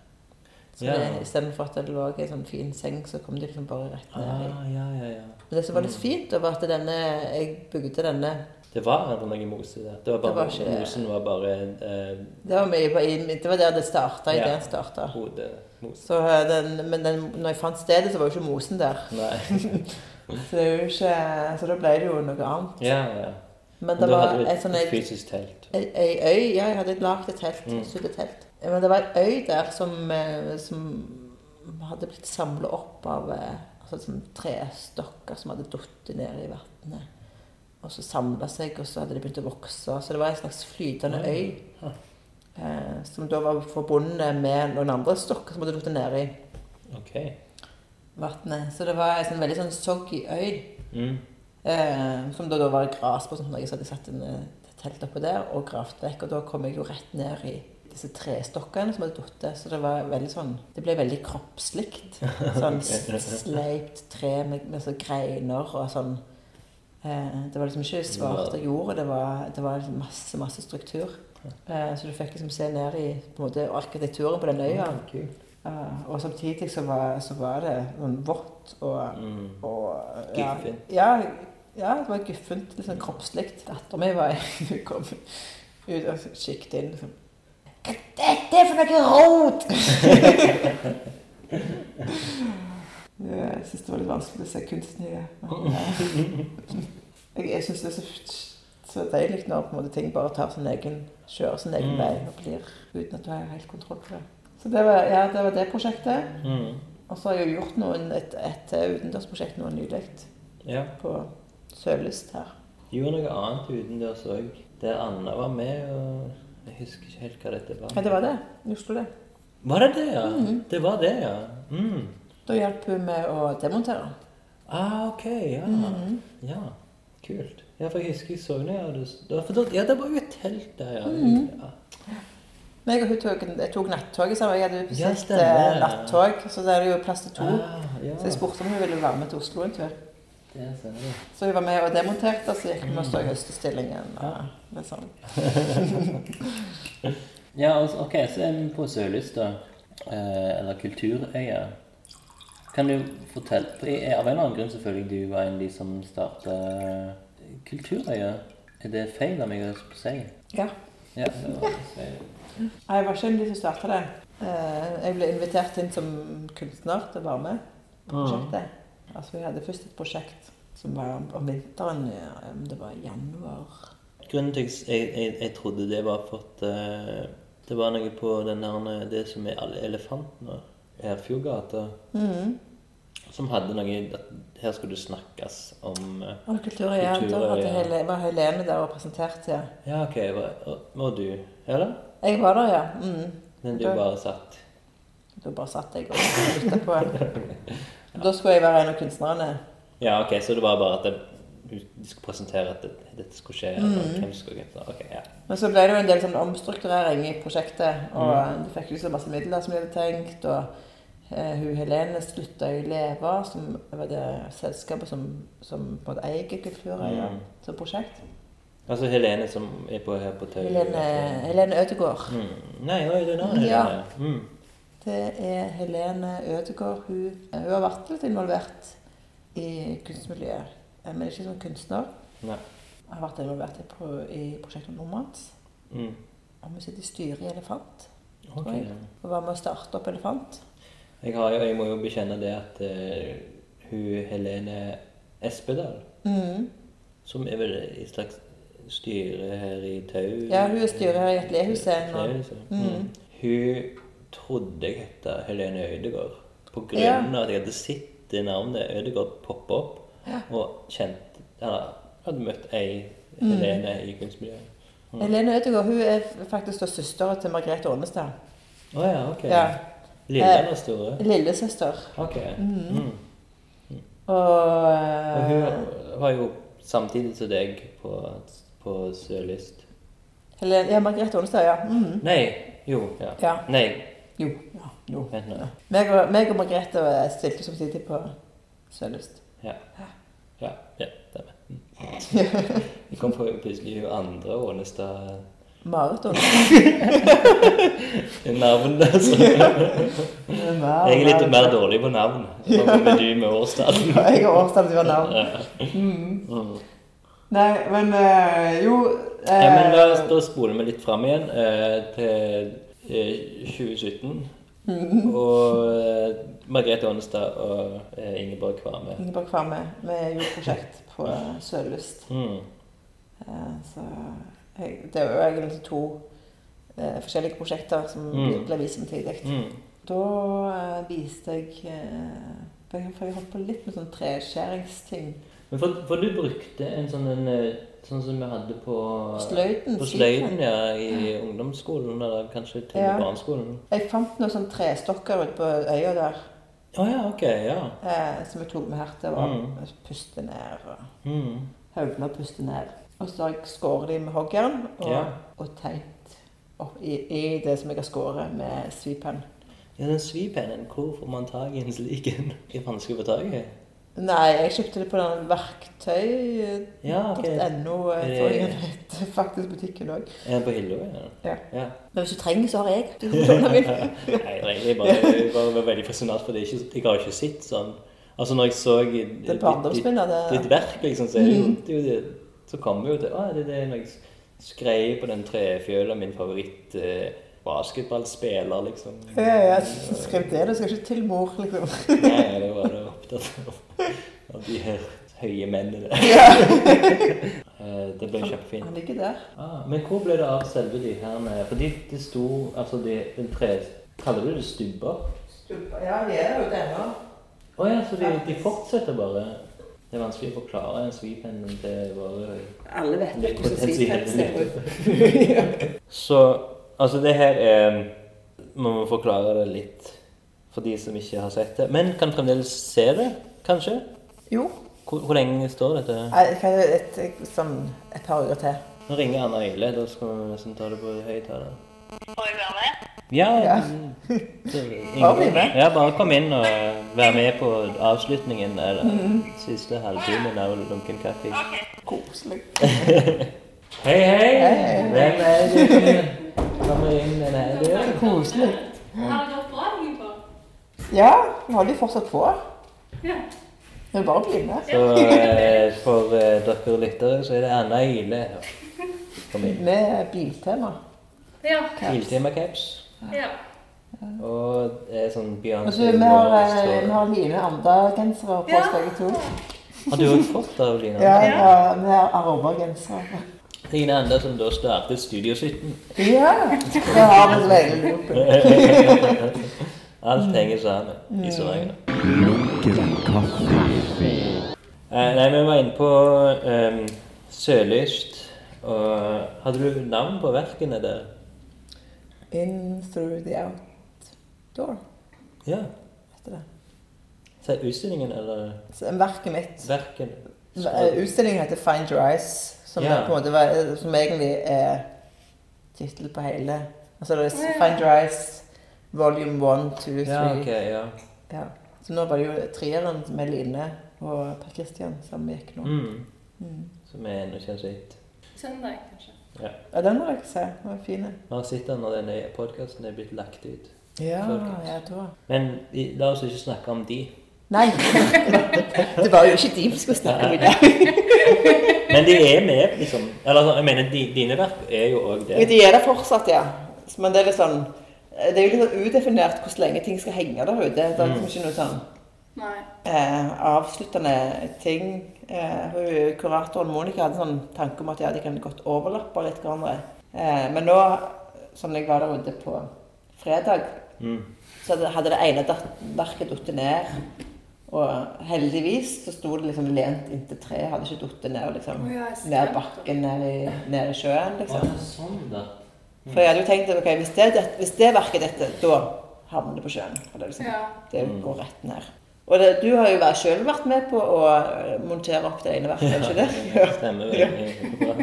Så Ja. det- Istedenfor at det lå i en sånn fin seng, så kom det liksom bare rett ned i. Ah, ja, ja, ja. Men det som var litt fint, det var at denne, jeg bygde denne Det var aldri noe mose der. Det var bare, Det var ikke- Mosen var bare eh, Det var, mye på, i- det var der det starta, Ja. ideen starta. hodemose. Så eh, den, men den, når jeg fant stedet, så var jo ikke mosen der. Nei. Mm. Så, det er jo ikke, så da ble det jo noe annet. Ja, ja. Men Men det da var hadde du en et, sånn et ei fysisk telt. Ei ei øy, ja, jeg hadde lagd et telt, Mm. sydd et telt. Men det var ei øy der som, eh, som hadde blitt samla opp av eh, altså, sånn trestokker som hadde falt ned i vannet. Og så samla seg, og så hadde de begynt å vokse. Så det var ei slags flytende Ja. øy. eh, som da var forbundet med noen andre stokker som hadde falt ned i OK. vannet. Så det var en sånn veldig sånn soggy øy. Mm. Eh, som det da var gras på, sånn at jeg hadde satt en, eh, et telt oppå der og gravd vekk. Og da kom jeg jo rett ned i disse trestokkene som hadde falt. Så det var veldig sånn Det ble veldig kroppslikt. Sånn s- sleipt tre med, med sånn greiner og sånn. Eh, det var liksom ikke svarte jord, det var, det var liksom masse, masse struktur. Eh, så du fikk liksom se ned i på en måte, arkitekturen på den øya. Mm. Eh, og samtidig så var, så var det sånn vått og Mm. og eh, ja, Guffent. ja, ja, det var guffent. Litt sånn kroppslig. Dattera mi var hun kom ut og kikket inn liksom. Hva dette er for noe rot?! Ja, jeg syns det var litt vanskelig å se kunsten i det. men, eh, Jeg, jeg syns det er så, f- så deilig når på en måte, ting bare tar sin egen, kjører sin egen Mm. vei og blir uten at du har helt kontroll på det. Så det var, ja, det, var det prosjektet. Mm. Og så har jeg jo gjort noen, et, et eh, utendørsprosjekt nå nylig Ja. på Sørlyst her. Gjorde noe annet utendørs òg. Der Anna var med, og jeg husker ikke helt hva dette var. Ja, det var det. I Oslo, det. Var det det, ja? Det var det, ja. Mm. Da hjalp hun med å demontere. Ah, ok, ja. Mm. Ja, kult. Ja, for jeg husker jeg så det, ja. du- da- for da- ja, det var jo et telt der, ja. Mm. Ah, ja. Men jeg og hun tok, jeg tok nattoget sammen. Jeg hadde jo Ja, bestilt stemmer. eh, nattog, så da er det jo plass til to. Ah, ja. Så jeg spurte om hun ville være med til Oslo en tur. Det ser jeg. Så hun var med og demonterte, og så gikk vi og så Høstestillingen. Og litt sånn. Ja, altså, ok, så er vi på Sørlyst, da. Eh, eller Kulturøya. Kan du fortelle For jeg er av en eller annen grunn selvfølgelig du var en av de som starta Kulturøya. Er det feil av meg å si? Ja. Ja, det var feil. Nei, Jeg var ikke en av de som starta det. Eh, Jeg ble invitert inn som kunstner til å være med på prosjektet. Altså, Vi hadde først et prosjekt som var om- om vinteren, ja, om det var i januar Grunnen til at jeg, jeg, jeg trodde det var for at eh, det var noe på den der, eh, det som er alle elefantene i Herfjordgata, som hadde noe at Her skulle det snakkes om eh, Og Kulturøya. Ja, da Kulturøya, hadde ja. Hele, var Helene der og presenterte. Ja. Ja, OK, hva- og- og du Eller? Jeg var der, ja. Mm. Men du Da- bare satt Da bare satt jeg og lytta på. Da skulle jeg være en av kunstnerne. Ja, OK, så det var bare at det, du- de skulle presentere at det, dette skulle skje, Mm. og hvem skulle gjøre det. Ok, ja. Men så ble det jo en del sånn omstrukturering i prosjektet. Og Mm. du fikk liksom masse midler som vi hadde tenkt. Og eh, hun Helene slutta i Leva, som var det selskapet som, som på en måte eier Kulturøya Mm. som prosjekt. Altså Helene som er på her på Tøyen. Helene, Helene Ødegård. Mm. Nei, oi, det er en annen Ja. Helene. Mm. Det er Helene Ødegård. Hun, hun har vært litt involvert i kunstmiljøet, eh, men ikke som kunstner. Nei. Hun Har vært involvert i, pro i prosjektet Normans. Mm. Og hun sitter i styret i Elefant. Ok, Oi. ja. Hun var med å starte opp Elefant. Jeg, har, jo- jeg må jo bekjenne det at eh, hun Helene Espedal, Mm. Mhm. som er vel i slags styre her i Tau Ja, hun er styrer her i Atlehuset nå. Atlehuset. Mhm. Mm. Hun trodde jeg het Helene Øydegård på grunn Ja. av at jeg hadde sett det navnet Øydegård poppe opp, og kjent Eller hadde møtt ei Mm. Helene i kunstmiljøet. Helene Ødegård hun er f- faktisk da søstera til Margrethe Ornestad. Å ja, ok. Ja. Lille Eh, eller store? Lillesøster. Ok. Mm. Og Og eh, hun var jo samtidig som deg på, på Sørlyst. Helene, Ja, Margrethe Ornestad, ja. Mhm. Nei, jo. Ja. Ja. Nei, Jo. Ja, jo. vent nå. Meg og, meg og Margrethe stilte samtidig på Sørlyst. Ja. Ja, ja stemmer. Mm. Jeg kom på plutselig hun andre Ånestad Marit Ornestad. navn. Altså. Jeg er litt mer dårlig på navn. Så kommer du med årstall. Ja, jeg har årstall til å være navn. Mm. Nei, men eh, jo eh, Ja, men da, da spoler vi litt fram igjen eh, til eh, 2017. Mm. Og eh, Margrethe Ånestad og eh, Ingeborg Kvarme. Ingeborg Kvamme med jordprosjekt på Sørlyst. Mm. Eh, så jeg, det er jo egentlig to eh, forskjellige prosjekter som Mm. ble vist samtidig. Mm. Da eh, viste jeg eh, for jeg for jeg holdt på litt med sånn treskjæringsting. Men for, for du brukte en sånn en, eh, sånn som vi hadde på Sløyden, På sikkert. sløyden, ja, i ungdomsskolen, eller kanskje til Ja. barneskolen. Jeg fant noen sånne trestokker ute på øya der Å ja, ok. Ja. eh, som jeg tok med hertil og puste ned. og Mm. Høvla og puste ned. Og så har jeg skåret dem med hoggjern og, Ja. og teipt opp i, i det som jeg har skåret med svipenn. Ja, den svipennen, hvor får man tak i en slik en? Det er vanskelig å få tak i. Nei, jeg kjøpte det på den verktøy.no. Ja, ok. Er eh, det- tror jeg det heter. Faktisk butikken òg. den på hylla? Ja. Ja. ja. Men hvis du trenger, så har jeg. Du kan låne min. Nei, det er egentlig bare, jeg bare var veldig fascinert, for det er ikke, jeg har ikke sett sånn. Altså, når jeg så i- Det er Mhm. barndomsminner, det. ditt verk, liksom, så, er det jo, det, er jo det, så kommer jo til Å, det er det når jeg skrev på den trefjøla, min favoritt eh, basketballspiller, liksom. Ja, ja, ja. Skriv det, du skal ikke til mor, liksom. Nei, det var det jeg var opptatt av. Av de her høye mennene der. Eh, det ble kjempefint. Han ligger der. Ah, men hvor ble det av selve de her med Fordi det sto Altså, de, den tre Kaller du det stubber? Ja, vi er jo der nå. Å ja, så de, de fortsetter bare. Det er vanskelig å forklare en svipenn til våre Alle vet jo hvordan Potensielle svipenn ser ut. Så altså, det her er Må vi forklare det litt for de som ikke har sett det. Men kan fremdeles se det, kanskje? Jo. Hvor, hvor lenge står dette? Nei, det kan jo et, et, sånn et par uker til. Nå ringer Anna Ile. Da skal vi nesten ta det på høyttaler. Får jeg være med? Ja, Ja. det er ingen- Bare bli med. ja, bare kom inn og vær med på avslutningen. Eller siste halvtimen av Lunken kaffe. Ok. Koselig. Hei, hei! Hei. Hvem er du? Kommer inn den her døren. Koselig. Har det gått bra, Ingeborg? Ja, vi holder jo fortsatt på. Ja. Det er bare å bli med. Så eh, for eh, dere lyttere så er det Anna Ile her. Kom inn. Med biltema. Ja. Iltema caps. ja. Og det er sånn Og Beyoncé så Altså, vi har, eh, vi Wall-stål. har Line Amda-gensere på oss Ja. begge to. Har du også fått av Lina? Ja, ja, vi har Aroba-gensere. Lina Anda som da startet Studio 17. Ja, det har vi et veldig lurt på. Alt henger sammen i Stavanger. Lunken kaffe. Eh, nei, vi var inne på ehm, Sørlyst. Og hadde du navn på verkene der? In through the out door, Ja. heter det. Så utstillingen eller Så verket mitt verkene? Eh, Utstillingen heter Find Your Eyes, som, Ja. er på en måte, var- som egentlig er tittel på hele Altså det er Find Your Eyes volume 1, 2, 3. Ja, ok, ja. ja. Så nå var det jo treeren med Line og Per Christian som gikk nå. Mm. Som jeg ennå ikke har sett. Søndag, kanskje. Ja, den må dere se. Den var fin. Vi har sett den når denne podkasten er blitt lagt ut. Ja, Folkens. ja, da. Men i, la oss ikke snakke om de. Nei! det var jo ikke de vi skulle snakke om i dag. Men de er med, liksom. Eller altså, jeg mener, di- dine verk er jo òg Men det. de er der fortsatt, ja. Så- Men det er litt sånn Det er jo litt sånn udefinert hvordan lenge ting skal henge der ute. Det er liksom ikke noe sånn Nei. eh, avsluttende ting. Eh, hun- kuratoren Monica hadde en sånn tanke om at ja, de kan godt overlappe litt hverandre. Eh, men nå, som jeg var der ute på fredag, Mm. så hadde- hadde det ene dat- verket falt ned. Og heldigvis så sto det liksom lent inntil treet, hadde ikke falt ned liksom, Å ja, jeg ser ned det. bakken, ned i, ned i sjøen. Å, liksom. det er sånn, da. For jeg hadde jo tenkt at ok, hvis det, det, hvis det verket dette, da havner det på sjøen. Eller liksom. Ja. Det Mm. går rett ned. Og det, du har jo vært- selv vært med på å øh, montere opp det ene verket, ikke det? Ja, Stemmer veldig bra.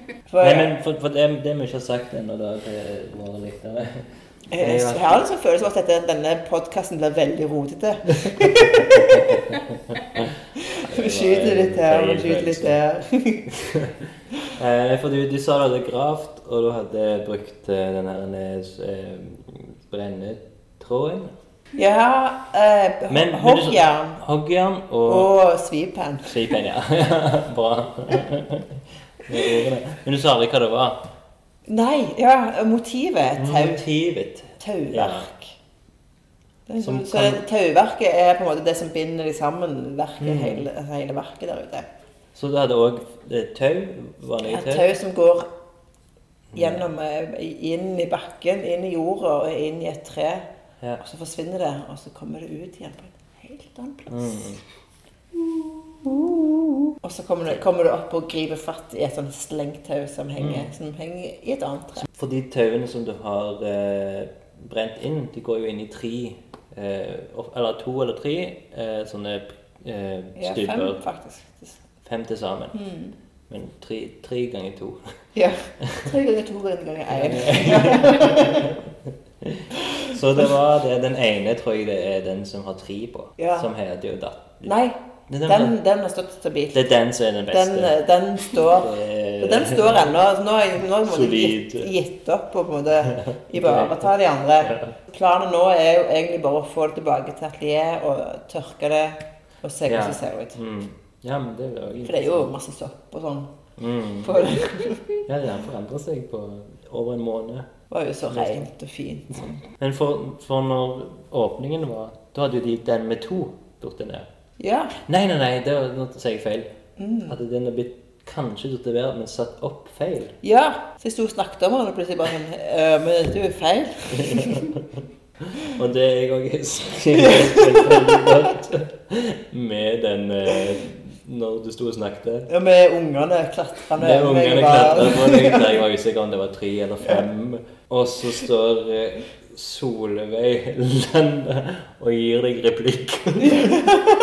For, Nei, men for, for det, det vi ikke har sagt ennå da til våre lyttere jeg, jeg, jeg har liksom følelsen av at dette, denne podkasten blir veldig rotete. Vi skyter litt her og skyter litt der. Eh, for du, du sa du hadde gravd, og du hadde brukt eh, den her eh, brennetråden. Ja, eh, Men- men du- hoggjern Hoggjern og og svipenn. Svipenn, ja. Bra. Det er ordene. Men du sa aldri hva det var. Nei, ja, Mm. motivet. Tau. Motivet. Tauverk. Det er Som sånn- så kan- Mm. det- Tauverket er på en måte det som binder de sammen, verket, hele, altså hele verket der ute. Så du hadde òg tau? Vanlig Et tau? Mm. tau som går gjennom, eh, inn i bakken, inn i jorda og inn i et tre. Ja. Og så forsvinner det, Mm. og så kommer det ut igjen på en helt annen plass. Og så kommer du, kommer du opp og griper fatt i et sånt slengtau som Mm. henger, som henger i et annet tre. For de tauene som du har eh, brent inn, de går jo inn i tre eh, of- Eller to eller tre eh, sånne eh, Ja, fem, Mm. stuper. faktisk. Fem til sammen. Men tre, tre ganger to. Ja. Tre ganger to ganger én. Så det var det. Den ene tror jeg det er den som har tre på. Ja. Som heter jo datt... Nei, Det er den, den, den har stått stabilt. det er den som er den Den, eh, beste. den står Det- Den står ennå. altså Nå har jeg nå har jeg på en måte Solid. gitt, gitt opp på en måte ivareta de andre. Planen nå er jo egentlig bare å få det tilbake til atelier og tørke det og se Ja. hvordan det ser ut. Mm. Ja, men det blir jo For det er jo masse sopp og sånn. mm. på det. Ja, det har forandret seg på over en måned. Det var jo så rent og fint. Men for, for når åpningen var, da hadde jo de den med to borte ned. Ja. Nei, nei, nei, det var, nå sier jeg feil. Hadde den har blitt kanskje torturert, men satt opp feil. ja. Så jeg sto og snakket om den, og plutselig bare sånn «Øh, Men dette er jo feil. Og det er jeg òg husker veldig godt med den eh, når du sto og snakket. Og med ungene klatrende Med ungene klatra bare- på deg, der jeg var usikker om det var tre eller fem. Og så står eh, Solveig Land og gir deg replikk.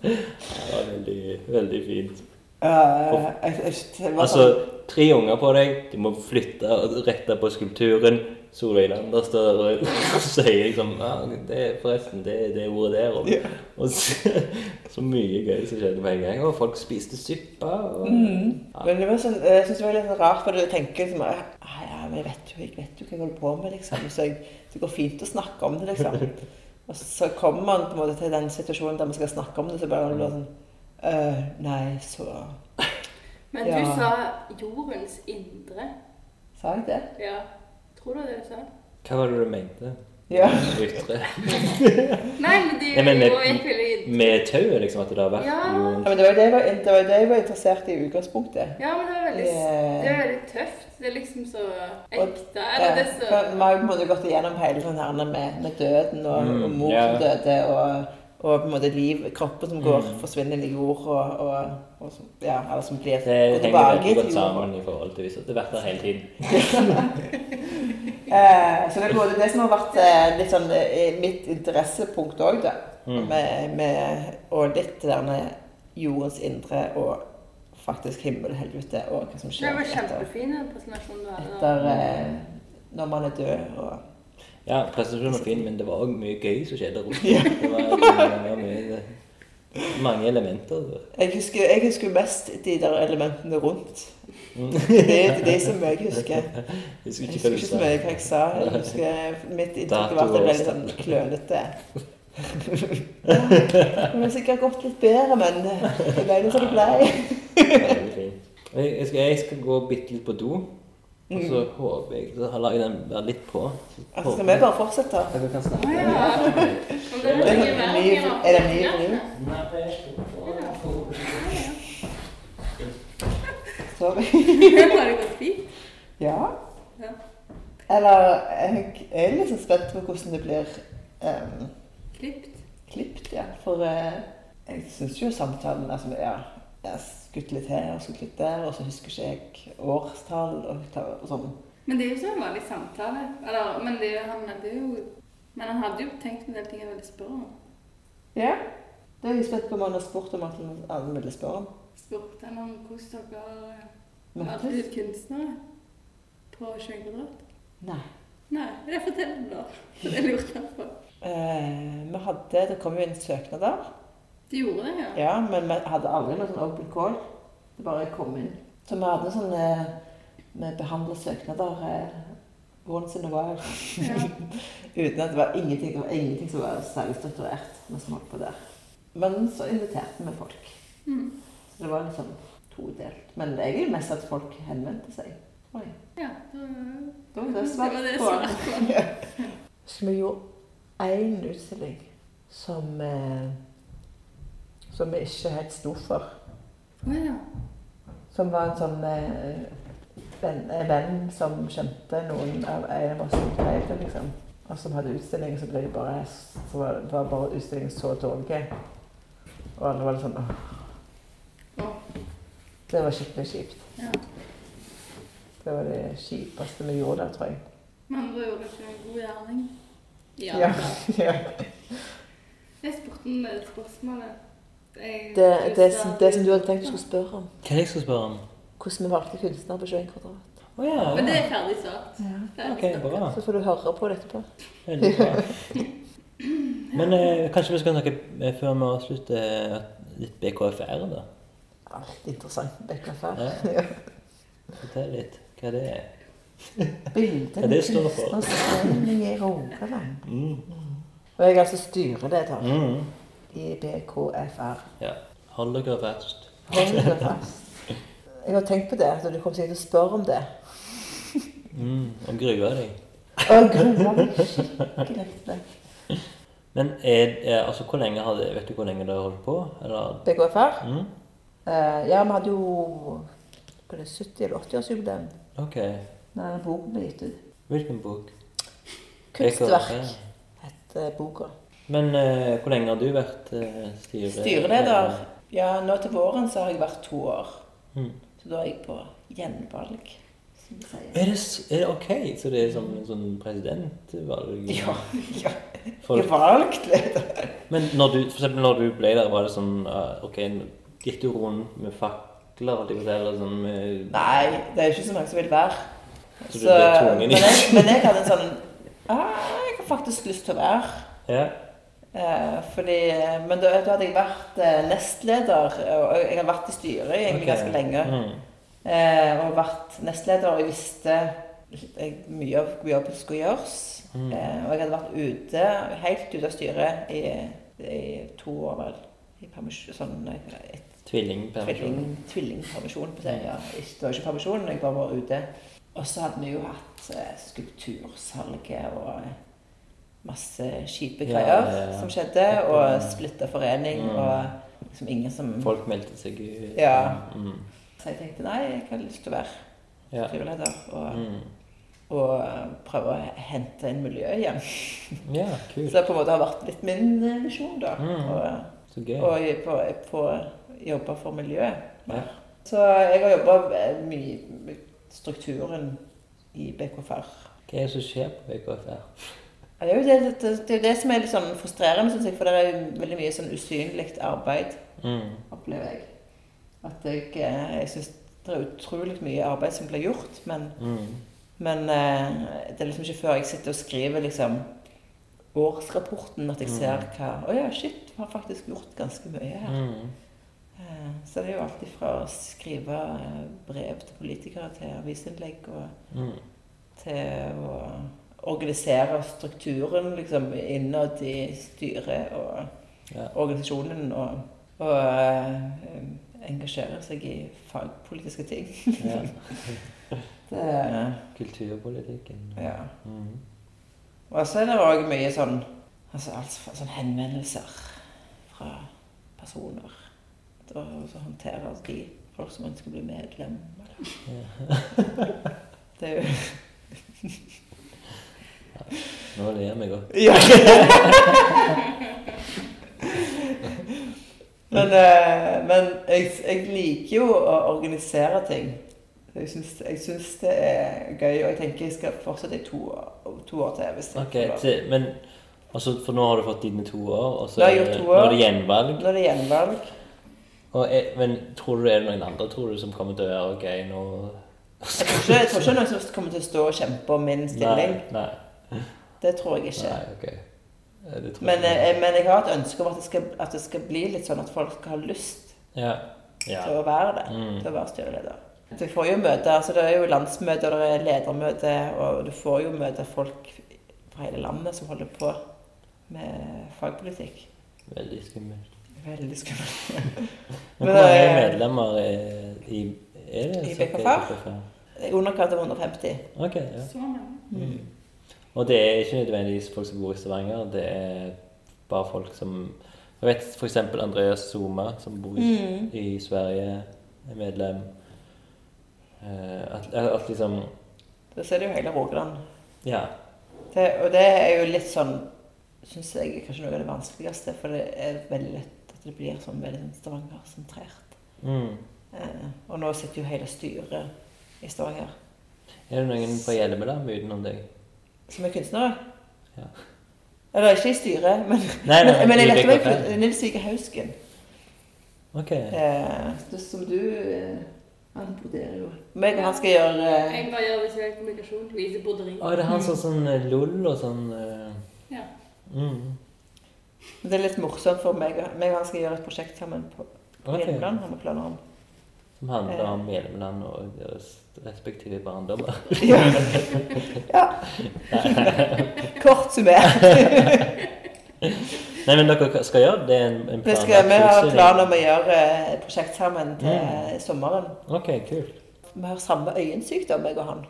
Det var veldig, veldig fint. Ja, jeg- jeg- jeg var Altså, sånn- tre unger på deg, de må flytte og rette på skulpturen. Solveig Lander står og sier liksom ja, det, er- Forresten, det er det ordet der. Og, og så, så mye gøy som skjedde på en gang. Og folk spiste suppe. Og, ja. Men det var sånn, jeg synes det var litt sånn rart, for du tenker liksom «Ah, Ja, men jeg vet jo, jeg vet jo hva jeg holder på med, liksom. Så jeg, det går fint å snakke om det, liksom. Og så kommer man på en måte til den situasjonen der man skal snakke om det, så bare blir det sånn «Øh, Nei, så Men du Ja. sa jordens indre. Sa jeg det? Ja. Tror du det du sa? Hva var det du mente? Ja. Ytre. Nei, men de Nei, men de med- går gikk veldig inn. Med tauet, liksom? At det har vært Ja. ja jordens men det var jo det jeg var, det var, jo det jeg var interessert i i utgangspunktet. Ja, men det var veldig, Yeah. det var veldig tøft. Det er liksom så ekte. Ja, Eller det er så for Vi har jo på en måte gått igjennom hele sånn her med, med døden og, Mm, og mor ja. som døde, og, og på en måte liv, kroppen som Mm. går forsvinner i jord, og, og, og som, ja, eller som blir Det går henger veldig tilbake godt til jord. sammen i forhold til hvis det har vært der hele tiden. Eh, så det er på en måte det som har vært eh, litt sånn eh, mitt interessepunkt òg, da. Mm. Med, med, og litt det der med jordens indre og faktisk himmel og helvete og hva som Det skjer var etter, kjempefin den presentasjonen du hadde. da. etter eh, når man er død og Ja, presentasjonen var fin, men det var òg mye gøy som skjedde rundt. Det var, det var mye, mange elementer. der. Jeg husker, jeg husker mest de der elementene rundt. Det er de som jeg husker. Jeg Mm. husker Jeg ikke husker hva ikke du så sa. mye hva jeg sa. Jeg husker Mitt inntrykk Dato var at det ble og litt sånn klønete. Det kunne sikkert gått litt bedre, men det ble sånn nå som det ble. Veldig fint. Jeg, jeg, skal, jeg skal gå bitte litt på do, og så håper jeg så har jeg den være litt på. Så Altså, Mm. skal håper vi bare fortsette? jeg vi kan snakke. Å ja. Men det Er er det en mye verre ny, enn å- er det en ny vri? Sorry. Ja, Har det gått fint? Ja. Ja. Eller jeg er litt sånn spent på hvordan det blir ehm, Klippet? klippet, ja. For eh, jeg syns jo samtalen altså, ja, Jeg skutt litt her og skutt litt der, og så husker ikke jeg årstall og, ta- og sånn. Men det er jo ikke en vanlig samtale. Eller, men det, han hadde jo Men han hadde jo tenkt en del ting jeg ville spørre om. Ja. Det er jeg spent på om han har spurt om at han- han ville spørre om. Spurte han om hvordan dere har Møttes? blitt kunstnere på Sjøgradrøt? Nei. Nei, det forteller han da. For det lurte han på. Eh, vi hadde, Det kom jo inn søknader, De gjorde det, ja. ja, men vi hadde aldri noe sånn open call. Det bare kom inn. Så vi hadde sånn eh, Vi behandlet søknader eh, once in a while. ja. Uten at det var ingenting, det var ingenting som var særlig strukturert. Men som holdt på der. Men så inviterte vi folk. Mm. Så det var liksom todelt. Men det er egentlig mest at folk henvendte seg. Oi, ja da- da var det Det svart var det på. svart på. Så vi gjorde én utstilling som eh, Som vi ikke helt sto for. Å ja. Som var en sånn eh, venn, eh, venn som kjente noen av en av oss som drev det, liksom. Og som hadde utstilling, så ble det bare så var, var bare utstillingen så dårlig. Og alle var litt sånn «Åh, Å, Det var skikkelig kjipt. Ja. Det var det kjipeste vi gjorde der, tror jeg. Men da gjorde ikke en god gjerning. Ja. Ja. ja. Jeg spurte om det spørsmålet. Jeg- Det, det, som, det som du hadde tenkt du skulle spørre om. Hva er det jeg skal spørre om? Hvordan vi valgte kunstner på 21 kvadrat. Å ja. Men det er ferdig svart. Ferdig Ok, snakket. bra. Så får du høre på det etterpå. Veldig bra. Men eh, kanskje vi skal snakke eh, før vi avslutter eh, litt BKFR, da? Alt interessant med Bekkafær. Ja. Ja. Fortell litt hva det er. Bildene Ja, det står for. kunstnerstemning i Rogaland. Mm. Og jeg er altså styreleder Mm. i BKFR. Ja. Hold dere fast. Hold deg fast. Jeg har tenkt på det, at du kom sikkert til å spørre om det. Mm. Og grue deg. Og jeg gruer meg skikkelig til det. Men er, er, altså, hvor lenge har det, vet du hvor lenge det har holdt på? Eller? BKFR? Mm? Eh, ja, vi hadde jo på det 70- eller 80-årsjubileum Ok. da denne boken ble gitt ut. Hvilken bok? Kunstverk BKFR. het eh, boka. Men eh, hvor lenge har du vært eh, styre- Styreleder. Ja, nå til våren så har jeg vært to år. Mm. Så da er jeg på gjenvalg, som de sier. Er det, s- er det ok? Så det er som en sånn presidentvalg? Ja, ja. For- Jeg er valgt leder. Men når du, for eksempel når du ble der, var det sånn eh, Ok, gikk du rundt med fakler? holdt jeg på å si, Eller sånn med Nei, det er jo ikke så mange som vil være. Så du ble tvungen i- men, jeg, men jeg hadde en sånn ah, Jeg har faktisk lyst til å være. Ja. Eh, fordi, men da, da hadde jeg vært eh, nestleder, og jeg har vært i styret egentlig ok. ganske lenge. Mm. Eh, og vært nestleder, og jeg visste jeg, mye av hvor jobben skulle gjøres. Mm. Eh, og jeg hadde vært ute, helt ute av styret i, i to år, vel. I permisjon, sånn eh, Tvillingpermisjon. Tvilling, tvillingpermisjon. Mm. på scenen, ja. Ikke- Det var ikke permisjon, jeg bare var ute. Og så hadde vi jo hatt eh, skulptursalget og eh, masse kjipe Ja, greier ja, ja. som skjedde. Og splitta forening Mm. og liksom ingen som Folk meldte seg ut. Ja. Mm. Så jeg tenkte nei, jeg har lyst til å være ja. styreleder og, Mm. og eh, prøve å hente inn miljø igjen. ja Så kult. det på en måte har vært litt min eh, visjon, da. Mm. Og, eh, Så gøy. og jeg på, jeg på jobbe for miljøet. mer. Ja. Så jeg har jobba mye med strukturen i BKFR. Hva er det som skjer på E VKFR? Ja, Det er jo det, det, det, er jo det som er litt sånn frustrerende, synes jeg, for det er jo veldig mye sånn usynlig arbeid, Mm. opplever jeg. At jeg, eh, jeg syns det er utrolig mye arbeid som blir gjort, men, Mm. men eh, det er liksom ikke før jeg sitter og skriver liksom årsrapporten at jeg ser hva Å ja, shit, vi har faktisk gjort ganske mye her. Mm. Eh, Så det er jo alltid fra å skrive eh, brev til politikere, til avisinnlegg og Mm. til å organisere strukturen liksom, innad i styret og Ja. organisasjonen. Og, og eh, engasjere seg i fagpolitiske ting. Ja. Det, er- Kulturpolitikken. ja. Mm. Og så er det òg mye sånn, altså, alt fra- sånn henvendelser fra personer. Og så håndterer de folk som ønsker å bli medlem. Eller. Det er jo Nå ler vi godt. Ja. men eh, men jeg, jeg liker jo å organisere ting. Jeg syns, jeg syns det er gøy, og jeg tenker jeg skal fortsette i to, år- to år til. hvis jeg Ok, får lov. til, men altså, For nå har du fått dine to år, og så Nå har er jeg det, gjort to nå er år. det gjenvalg. Nå er det gjenvalg. Og er, men tror du det er noen andre tror du som kommer til å gjøre OK nå? Jeg tror ikke, jeg tror ikke noen som kommer til å stå og kjempe om min stilling. Nei, Det tror jeg nei, ikke. nei ok. Eh, Det tror Men, jeg eh, men jeg har et ønske om at det, skal, at det skal bli litt sånn at folk har lyst Ja. ja. til å være det. Mm. til å være styreleder. Du får jo møte, altså Det er jo landsmøte og det er ledermøte, og du får jo møte folk fra hele landet som holder på med fagpolitikk. Veldig skummelt. Veldig skummelt. Men Men hvor mange det er- medlemmer er, i er det? I som er BKFR? BKFR? I underkant av 150. Ok, ja. Mm. Så mange. Mm. Og det er ikke nødvendigvis folk som bor i Stavanger, det er bare folk som Jeg vet for eksempel Andreas Zuma, som bor i, Mm. i Sverige, er medlem. Eh, at, at liksom Da ser du jo hele Rogaland. Ja. Det, og det er jo litt sånn Syns jeg er kanskje noe av det vanskeligste, for det er veldig lett at det blir sånn veldig sånn Stavanger-sentrert. Mm. Eh, og nå sitter jo hele styret i stå her, Er det noen fra Hjelmeland utenom deg? som er kunstnere. Ja. Eller ikke i styret, men, Nei, nei, men, men i jeg lette meg BKP. på Nils Vige Hausken, Ok. eh, Det som du eh, Han broderer jo. meg og han skal gjøre eh, Jeg bare gjør det ikke i kommunikasjon. Viser broderi. Å, er det han som sånn eh, lol og sånn eh, Ja. mm. Men Det er litt morsomt for meg. og- meg og han skal gjøre et prosjekt sammen på på Ok. Hjelmeland. Har vi planer om. Som handler om Hjelmeland og deres respektive barndommer. Ja. ja. Kort summert. Nei, men dere skal gjøre det? Det er en, en Vi skal- vi har planlagt planer om å gjøre et prosjekt sammen til eh, Mm. sommeren. Ok, kult. Vi har samme øyensykdom, meg og han.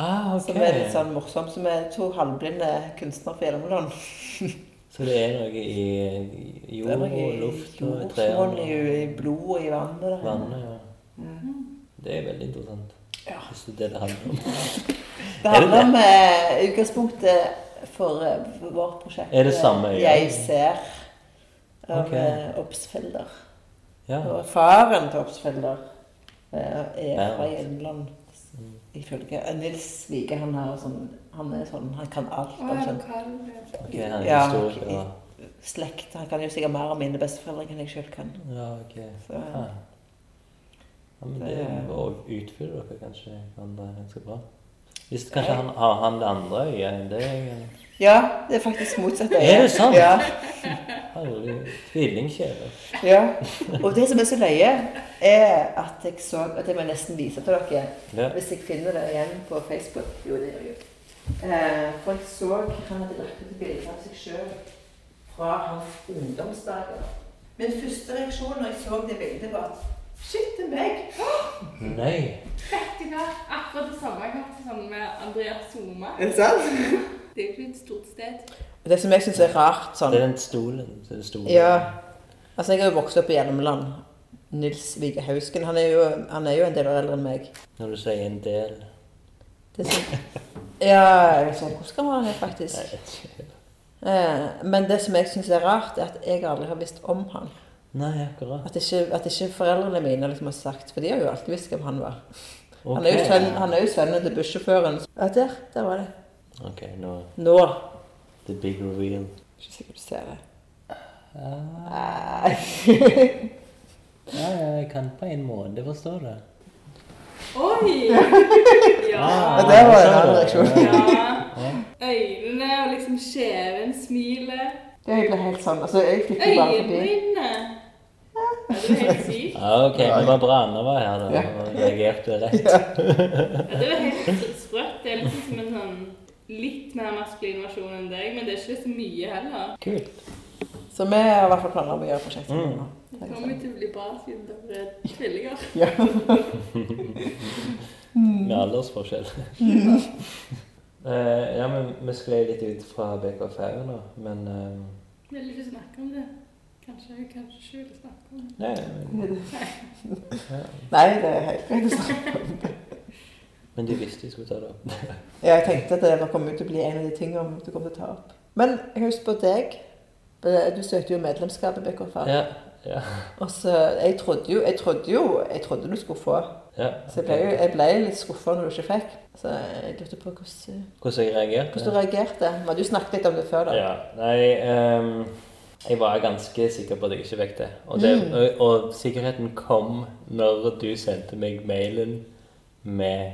Ah, ok. Som er litt sånn morsomt. Som er to halvblinde kunstnere fra Hjelmeland. Så det er noe i i Det er jord noe og i luft og i jordsmonn, trærne og i, i blodet og i vannet. der. vannet? Ja. Det er veldig interessant. Mhm. Ja. Hvis det er det det handler om. Det Er det handler om eh, utgangspunktet for eh, vårt prosjekt. eh, Er det samme øya? Jeg ser. Av Ok. eh, Obsfelder. Ja. Og faren til Obsfelder eh, er fra Bernt. Innland, ifølge eh, Nils Vige. Han, har sånn, han er sånn Han kan alt Å, om er sånn det kald? Ok, han er Ja. historiker. Ja. slekt. Han kan jo sikkert mer om mine besteforeldre enn jeg sjøl kan. ja, ok. Så, eh, Ja. Ja, men det Det- å utfylle dere kanskje kan det ganske bra. Hvis kanskje han har han det andre øyet enn deg? ja, det er faktisk motsatt. øye. Er det sant? Ja, Herlig tvillingkjede. ja. Og det som er så løye, er at jeg så at jeg må nesten vise til dere Ja. Hvis jeg finner det igjen på Facebook. Jo, det gjør jeg jo. Eh, for jeg så han hadde lagt ut bilder av seg sjøl fra hans ungdomsdager. Min første reaksjon når jeg så det bildet, var at Shit, det er meg! Nei. Vet du hva? Akkurat det samme jeg har hatt sånn med Andreas Zuma. Er det sant? Det er jo ikke et stort sted. Det som jeg syns er rart sånn Det er den stolen. Det er den stolen. Ja. Altså, jeg har jo vokst opp i Hjelmeland. Nils Vige Hausken. Han er, jo, han er jo en del år eldre enn meg. Når du sier en del. Det er sånn- ja, jeg vet ikke hvordan han er, faktisk. Nei, jeg vet ikke. Eh, men det som jeg syns er rart, er at jeg aldri har visst om han. Nei, akkurat. At ikke, at ikke foreldrene mine liksom har sagt For de har jo alltid visst hvem han var. Ok. Han, er jo sønn, han er jo sønnen til bussjåføren. Ja, der, der var det. Ok, nå. Nå. The big reveal. Ikke sikkert du ser det. Ja, Ah. Nei. jeg kan på en måte forstå det. Oi! Ah, Ja. Og der var en sånn, annen reaksjon. ja. Øynene og liksom skjeven, smilet. Det jeg ble helt sånn. Altså, jeg fikk jo bare forbi. Øyenbrynene. Ja, det var helt sykt. Ja, ok, men hva bra Anna var her da, og reagerte rett. Ja, det var helt sprøtt. Det er liksom som en sånn litt mer maskulin versjon enn deg, men det er ikke så mye heller. Kult. Så vi har i hvert fall planer om å gjøre prosjektet Mm. nå. Det kommer jo til å bli bra siden dere er tvillinger. Med Mm. aldersforskjell. Eh, ja, men vi sklei litt ut fra BKFAU nå, men... eh, Vil du ikke snakke om det? Kanskje jeg kanskje ikke vil snakke om det. nei, men- sånn. Nei, det er helt greit. altså. å snakke. men de visste jeg skulle ta det opp. Ja, jeg tenkte at det var kommet til å bli en av de tingene du kom til å ta opp. Men jeg husker på deg. Eh, Du søkte jo medlemskap i BKFA. Ja, ja, Og så, jeg trodde jo, jeg trodde jo, jeg trodde du skulle få. ja. Så jeg ble, jo- jeg ble litt skuffa når du ikke fikk. Så jeg lurte på hvordan, Hvordan jeg reagerte? hvordan du reagerte. Vi hadde jo snakket litt om det før, da. Ja, nei ehm, Jeg var ganske sikker på at jeg ikke fikk det. Og, det og, Mm. og sikkerheten kom når du sendte meg mailen med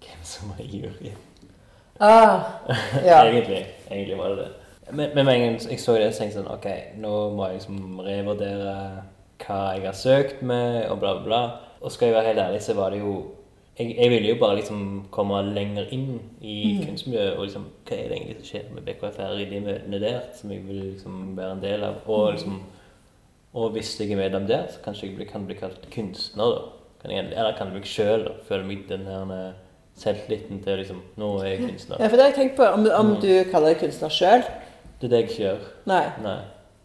hvem som var i juryen. Ah, ja. egentlig, egentlig var det det. Men men med en gang jeg så det, så tenkte jeg sånn OK, nå må jeg liksom revurdere hva jeg har søkt med, og bla, bla, bla. Og skal jeg være helt ærlig, så var det jo Jeg, jeg ville jo bare liksom komme lenger inn Mhm. i kunstmiljøet. Og liksom Hva er det egentlig som skjer med BKFR i de møtene der, som jeg vil liksom være en del av? Mhm. Og liksom og hvis jeg er medlem der, så kanskje jeg bli- kan bli kalt kunstner, da. Kan jeg, eller kan jeg meg sjøl føle meg den her eh, selvtilliten til liksom Nå er jeg kunstner. ja for det har jeg tenkt på. Om, Mm. om du kaller deg kunstner sjøl? Det er det jeg ikke gjør. Nei. Nei.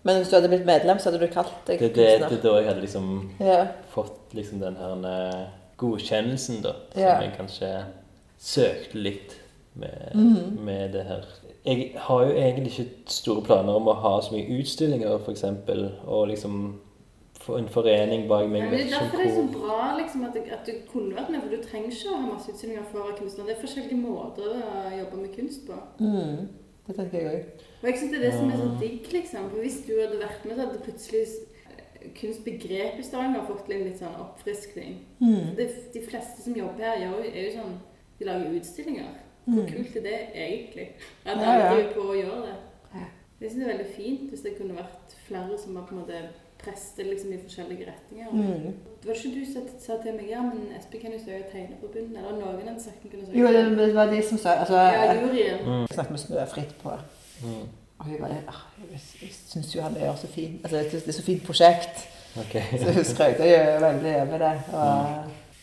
Men hvis du hadde blitt medlem, så hadde du kalt deg Det er det, det er da jeg hadde liksom Ja. fått liksom den her eh, godkjennelsen, da. Som Ja. jeg kanskje søkte litt med, Mm. med det her. Jeg har jo egentlig ikke store planer om å ha så mye utstillinger, f.eks. Og liksom for- en forening bak Ja, meg. men det er som derfor det er så hvor- bra liksom, at, at du kunne vært med, for du trenger ikke å ha masse utstillinger for å være kunstner. Det er forskjellige måter å jobbe med kunst på. Mm, det tenker jeg òg. Og jeg synes det er det som er så digg, liksom. For hvis du hadde vært med, så hadde plutselig s- kunstbegrepet i Stavanger fått en litt sånn oppfriskning. Mm. Det, de fleste som jobber her, gjør, jo- er jo sånn De lager utstillinger. Hvor kult er det egentlig? At Mm. Ja, alle ja. driver på og gjør det. Ja. Jeg synes det er veldig fint hvis det kunne vært flere som var på en måte prester liksom, i forskjellige retninger. Mm. Det var ikke du som sa til meg ja, men Espen kan jo søke Tegnerforbundet? Eller noen hadde sagt han kunne søke? Jo, det, det var de som sa altså, Ja, Jeg juryen. snakket med Snø fritt på det. Mm, Og hun bare «Ah, Jeg, jeg syns jo han gjør så fin altså, jeg synes Det er så fint prosjekt. ok. Så hun skrøt jo veldig over det. Og,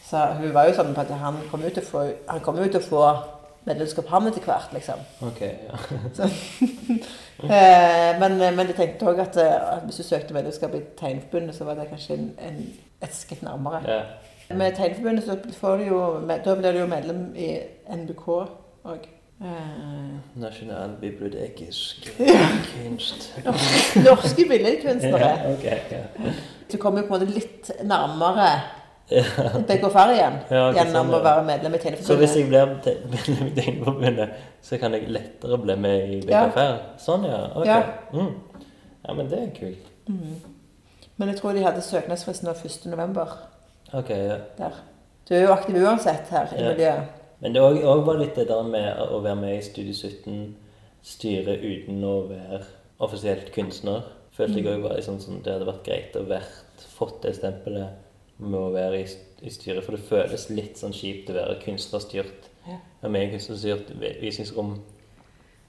så hun var jo sånn på at han kom ut til å få, han kom ut til å få medlemskap han etter hvert, liksom. ok, ja. Mm. Eh, men, men jeg tenkte òg at eh, hvis du søkte medlemskap i Tegneforbundet, så var det kanskje en, en, et skritt nærmere. ja. Med Tegneforbundet så får du jo, da blir du jo medlem i NBK òg. Eh, Nasjonalbibliotekisk kunst. norske billedkunstnere. Ja, ok, ja. Du kommer jo på en måte litt nærmere ja. begge far igjen Ja, sånn ikke gjennom sant, å ja. være medlem i Så hvis Tegneforbundet. jeg blir te- medlem i Tegneforbundet, så kan jeg lettere bli med i Ja. BKFR? Sånn, ja. Ok. Ja. Mm. Ja, men det er kult. Men jeg tror de hadde søknadsfristen av 1. november Ok, ja. der. Du er jo aktiv uansett her i Ja. miljøet. Men det òg òg var litt det der med å være med i Studio 17-styret uten å være offisielt kunstner. Følte Mm. jeg òg var liksom sånn, det hadde vært greit å vært, fått det stempelet med å være i, st- i styret. For det føles litt sånn kjipt å være kunstnerstyrt. Ja. Være med i kunstnerstyrt vi- visningsrom.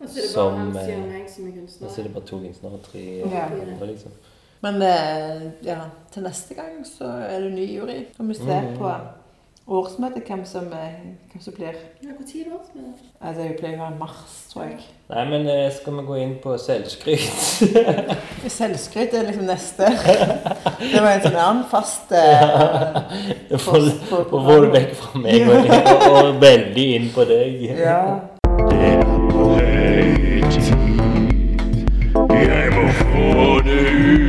Og så er det Som, bare han sier eh, meg som er Da kunstner. sitter det bare to kunstnere og tre Ja. andre, liksom. Men eh, ja, til neste gang så er det ny jury. Og vi ser Mm. på årsmøtet hvem som, eh, hvem som blir Ja, hvor tid var det? Altså, Det pleier å være mars, tror jeg. Nei, men eh, skal vi gå inn på selvskryt? Selvskryt er liksom neste. Det var en sånn annen fast eh, For post på å få det vekk fra meg og, og, og veldig inn på deg. Ja. Det er på høy tid. Jeg må få det ut.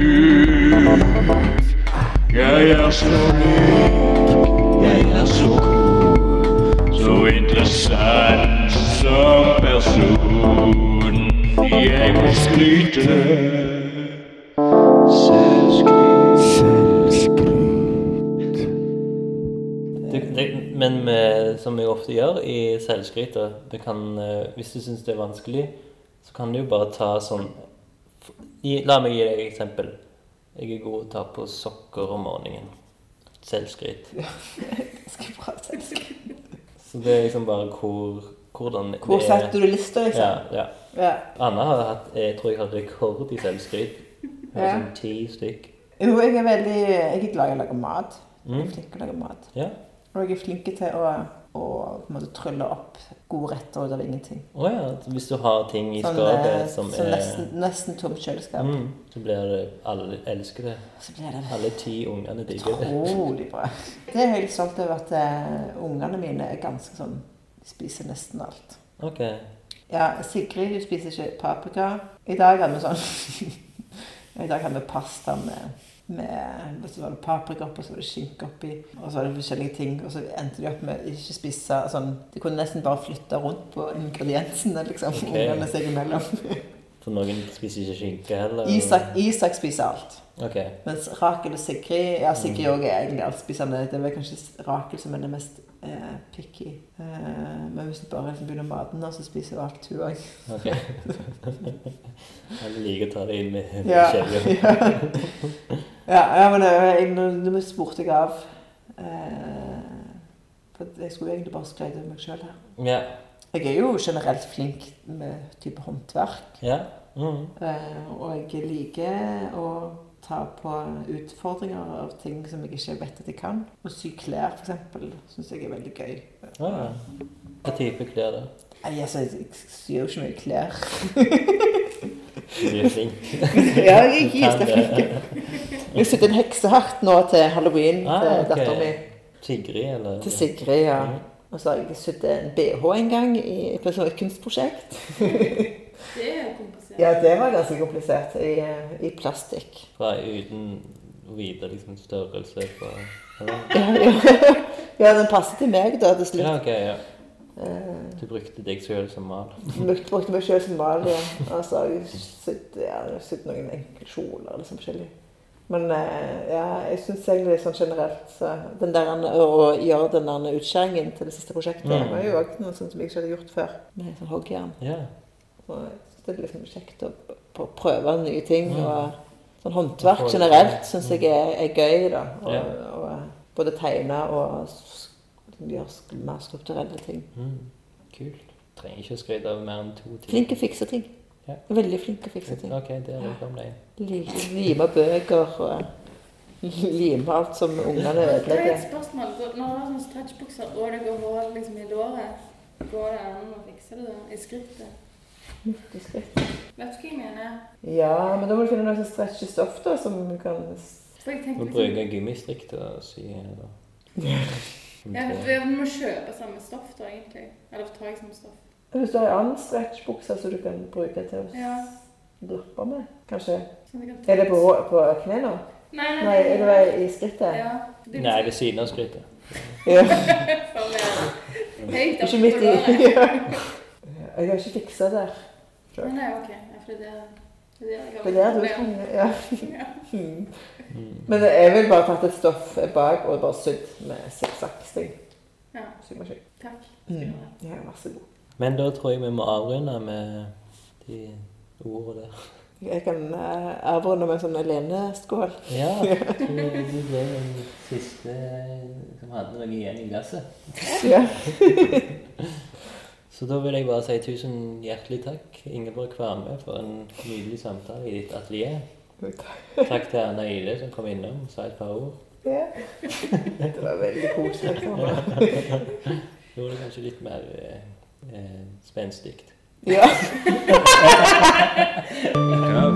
Jeg er så rik, jeg er så god, så interessant som person. Jeg må skryte. Selvskryt. Selvskryt. Du, det, men vi, som jeg ofte gjør i selvskryt, da, du kan, eh, hvis du syns det er vanskelig, så kan du jo bare ta sånn f- gi, La meg gi deg et eksempel. Jeg er god til å ta på sokker om morgenen. Selvskryt. Skal jeg prøve selvskryt? Så det er liksom bare hvor, hvordan det Hvor er. setter du lista, Ja, liksom? ja. Ja. Anna har hatt eh, Jeg tror jeg har rekord i selvskryt. Hun har Ja. sånn ti stykk. Jo, jeg er veldig Jeg er glad i å lage mat. Jeg Mm. er flink til å lage mat. Ja. Og jeg er flink til å, å på en måte trylle opp gode retter ut av ingenting. Å ja. så Hvis du har ting i eh, skapet som sånn er nesten, nesten tomt kjøleskap. mm, Så blir det Alle elsker det. Så blir det Alle ti ungene digger Mm. det. utrolig bra. Det er jeg helt stolt over at eh, ungene mine er ganske sånn De spiser nesten alt. Ok. Ja, Sigrid hun spiser ikke paprika. I dag hadde vi sånn I dag hadde vi pasta med, med så var det paprika oppi, så var det skinke oppi, og så var det forskjellige ting. Og så endte de opp med å ikke spise sånn De kunne nesten bare flytte rundt på ingrediensene, liksom. Ok. Ungene seg imellom. For noen spiser ikke skinke heller? og- Isak, Isak spiser alt. Ok. Mens Rakel og Sigrid Ja, Sigrid òg er egentlig altspisende. Det er vel kanskje Rakel som er den mest eh, picky. Eh, men hvis du bare liksom begynner å mate henne, så spiser hun alt, hun òg. ok. Jeg liker å ta det inn med Ja. skjeve. ja, ja, men eh, jeg, nå, nå spurte jeg av. Eh, for jeg skulle jo egentlig bare skrevet over meg sjøl her. Ja. Jeg er jo generelt flink med type håndverk. ja. Mm. Eh, og jeg liker å ta på utfordringer av ting som jeg ikke vet at jeg kan. Å sy klær, f.eks., syns jeg er veldig gøy. Ah, ja. Hva type klær da? Nei, altså, jeg syr jo ikke mye klær. Du er flink. ja, jeg er Du kan jævla det. flink. Jeg sydde en heksehatt nå til halloween Ah, til ok. datteren min. Sigrid, eller? Til Sigrid, ja. Mhm. Og så har jeg sydd en bh en gang i på et sånt kunstprosjekt. Det er komplisert. Ja, det var ganske komplisert. I, i eh, plastikk. Fra uten å vite liksom størrelse på eller? Ja, den passer til meg da Ja, til slutt. ok, ja. Eh, Du brukte deg sjøl som mal. brukte, brukte meg selv som mal. Ja. Altså, jeg sydd ja, jeg har sydd noen enkle kjoler liksom forskjellig. Men eh, ja, jeg syns egentlig sånn generelt så den der, Å å gjøre den der utskjæringen til det siste prosjektet Mm. var jo også noe sånt som jeg ikke hadde gjort før. Med sånn hoggjern. Ja. Og jeg synes det er liksom kjekt å p- prøve nye ting. Mm. Og sånn håndverk generelt syns jeg er, er gøy, da. Og, Ja. og eh, både tegne og s- gjøre sk- mer strukturelle ting. Mm. Kult. Trenger ikke å skryte av mer enn to timer. Flink til å fikse ting. Ja. Veldig flink til å fikse ting. Ok, der er det om deg. Li- Lime bøker og eh, lime alt som ungene Det er et ødelegger. spørsmål. Når du har sånne stretchbukser og det går hull liksom, i låret, går det an å fikse det da? I skrittet? Vet du hva jeg mener? Ja, men da må du finne noe som stretcher stoff, da, som du kan s- For jeg Nå tenker bruker liksom, jeg gummistrikk til å sy her, da. Mm. ja, Vi må kjøpe samme stoff da, egentlig. Eller tar jeg samme stoff? Hvis du har en annen stretchbukse som du kan bruke til å s- Ja. dropper med, kanskje. Sånn at jeg kan ta- Er det på, på kne nå? Nei, nei, Nei, er det i skrittet? Ja. Nei, ved siden av skrytet. Ja. For meg. Høyt Ikke oppe midt på i. låret. Jeg har ikke fiksa der. Nei, Nei, ok. Ja, for det er det er Det er der du jeg har- kan Ja. Ja. Mm. Men jeg vil bare tatt et stoff bak og bare sydd med sikksakksting. Ja. Symaskin. Takk. Mm. Ja, vær så god. Men da tror jeg vi må avrunde med de ordene der. Jeg kan eh, avrunde med en sånn aleneskål. Ja, jeg tror det ble den siste som hadde noe igjen i glasset. Ja. Så da vil jeg bare si tusen hjertelig takk, Ingeborg Kvarme, for en nydelig samtale i ditt atelier. Takk til Erna Ile som kom innom og sa et par ord. Ja. Det var veldig koselig. Liksom. Gjorde det kanskje litt mer eh, eh, spenstig. Ja. Hva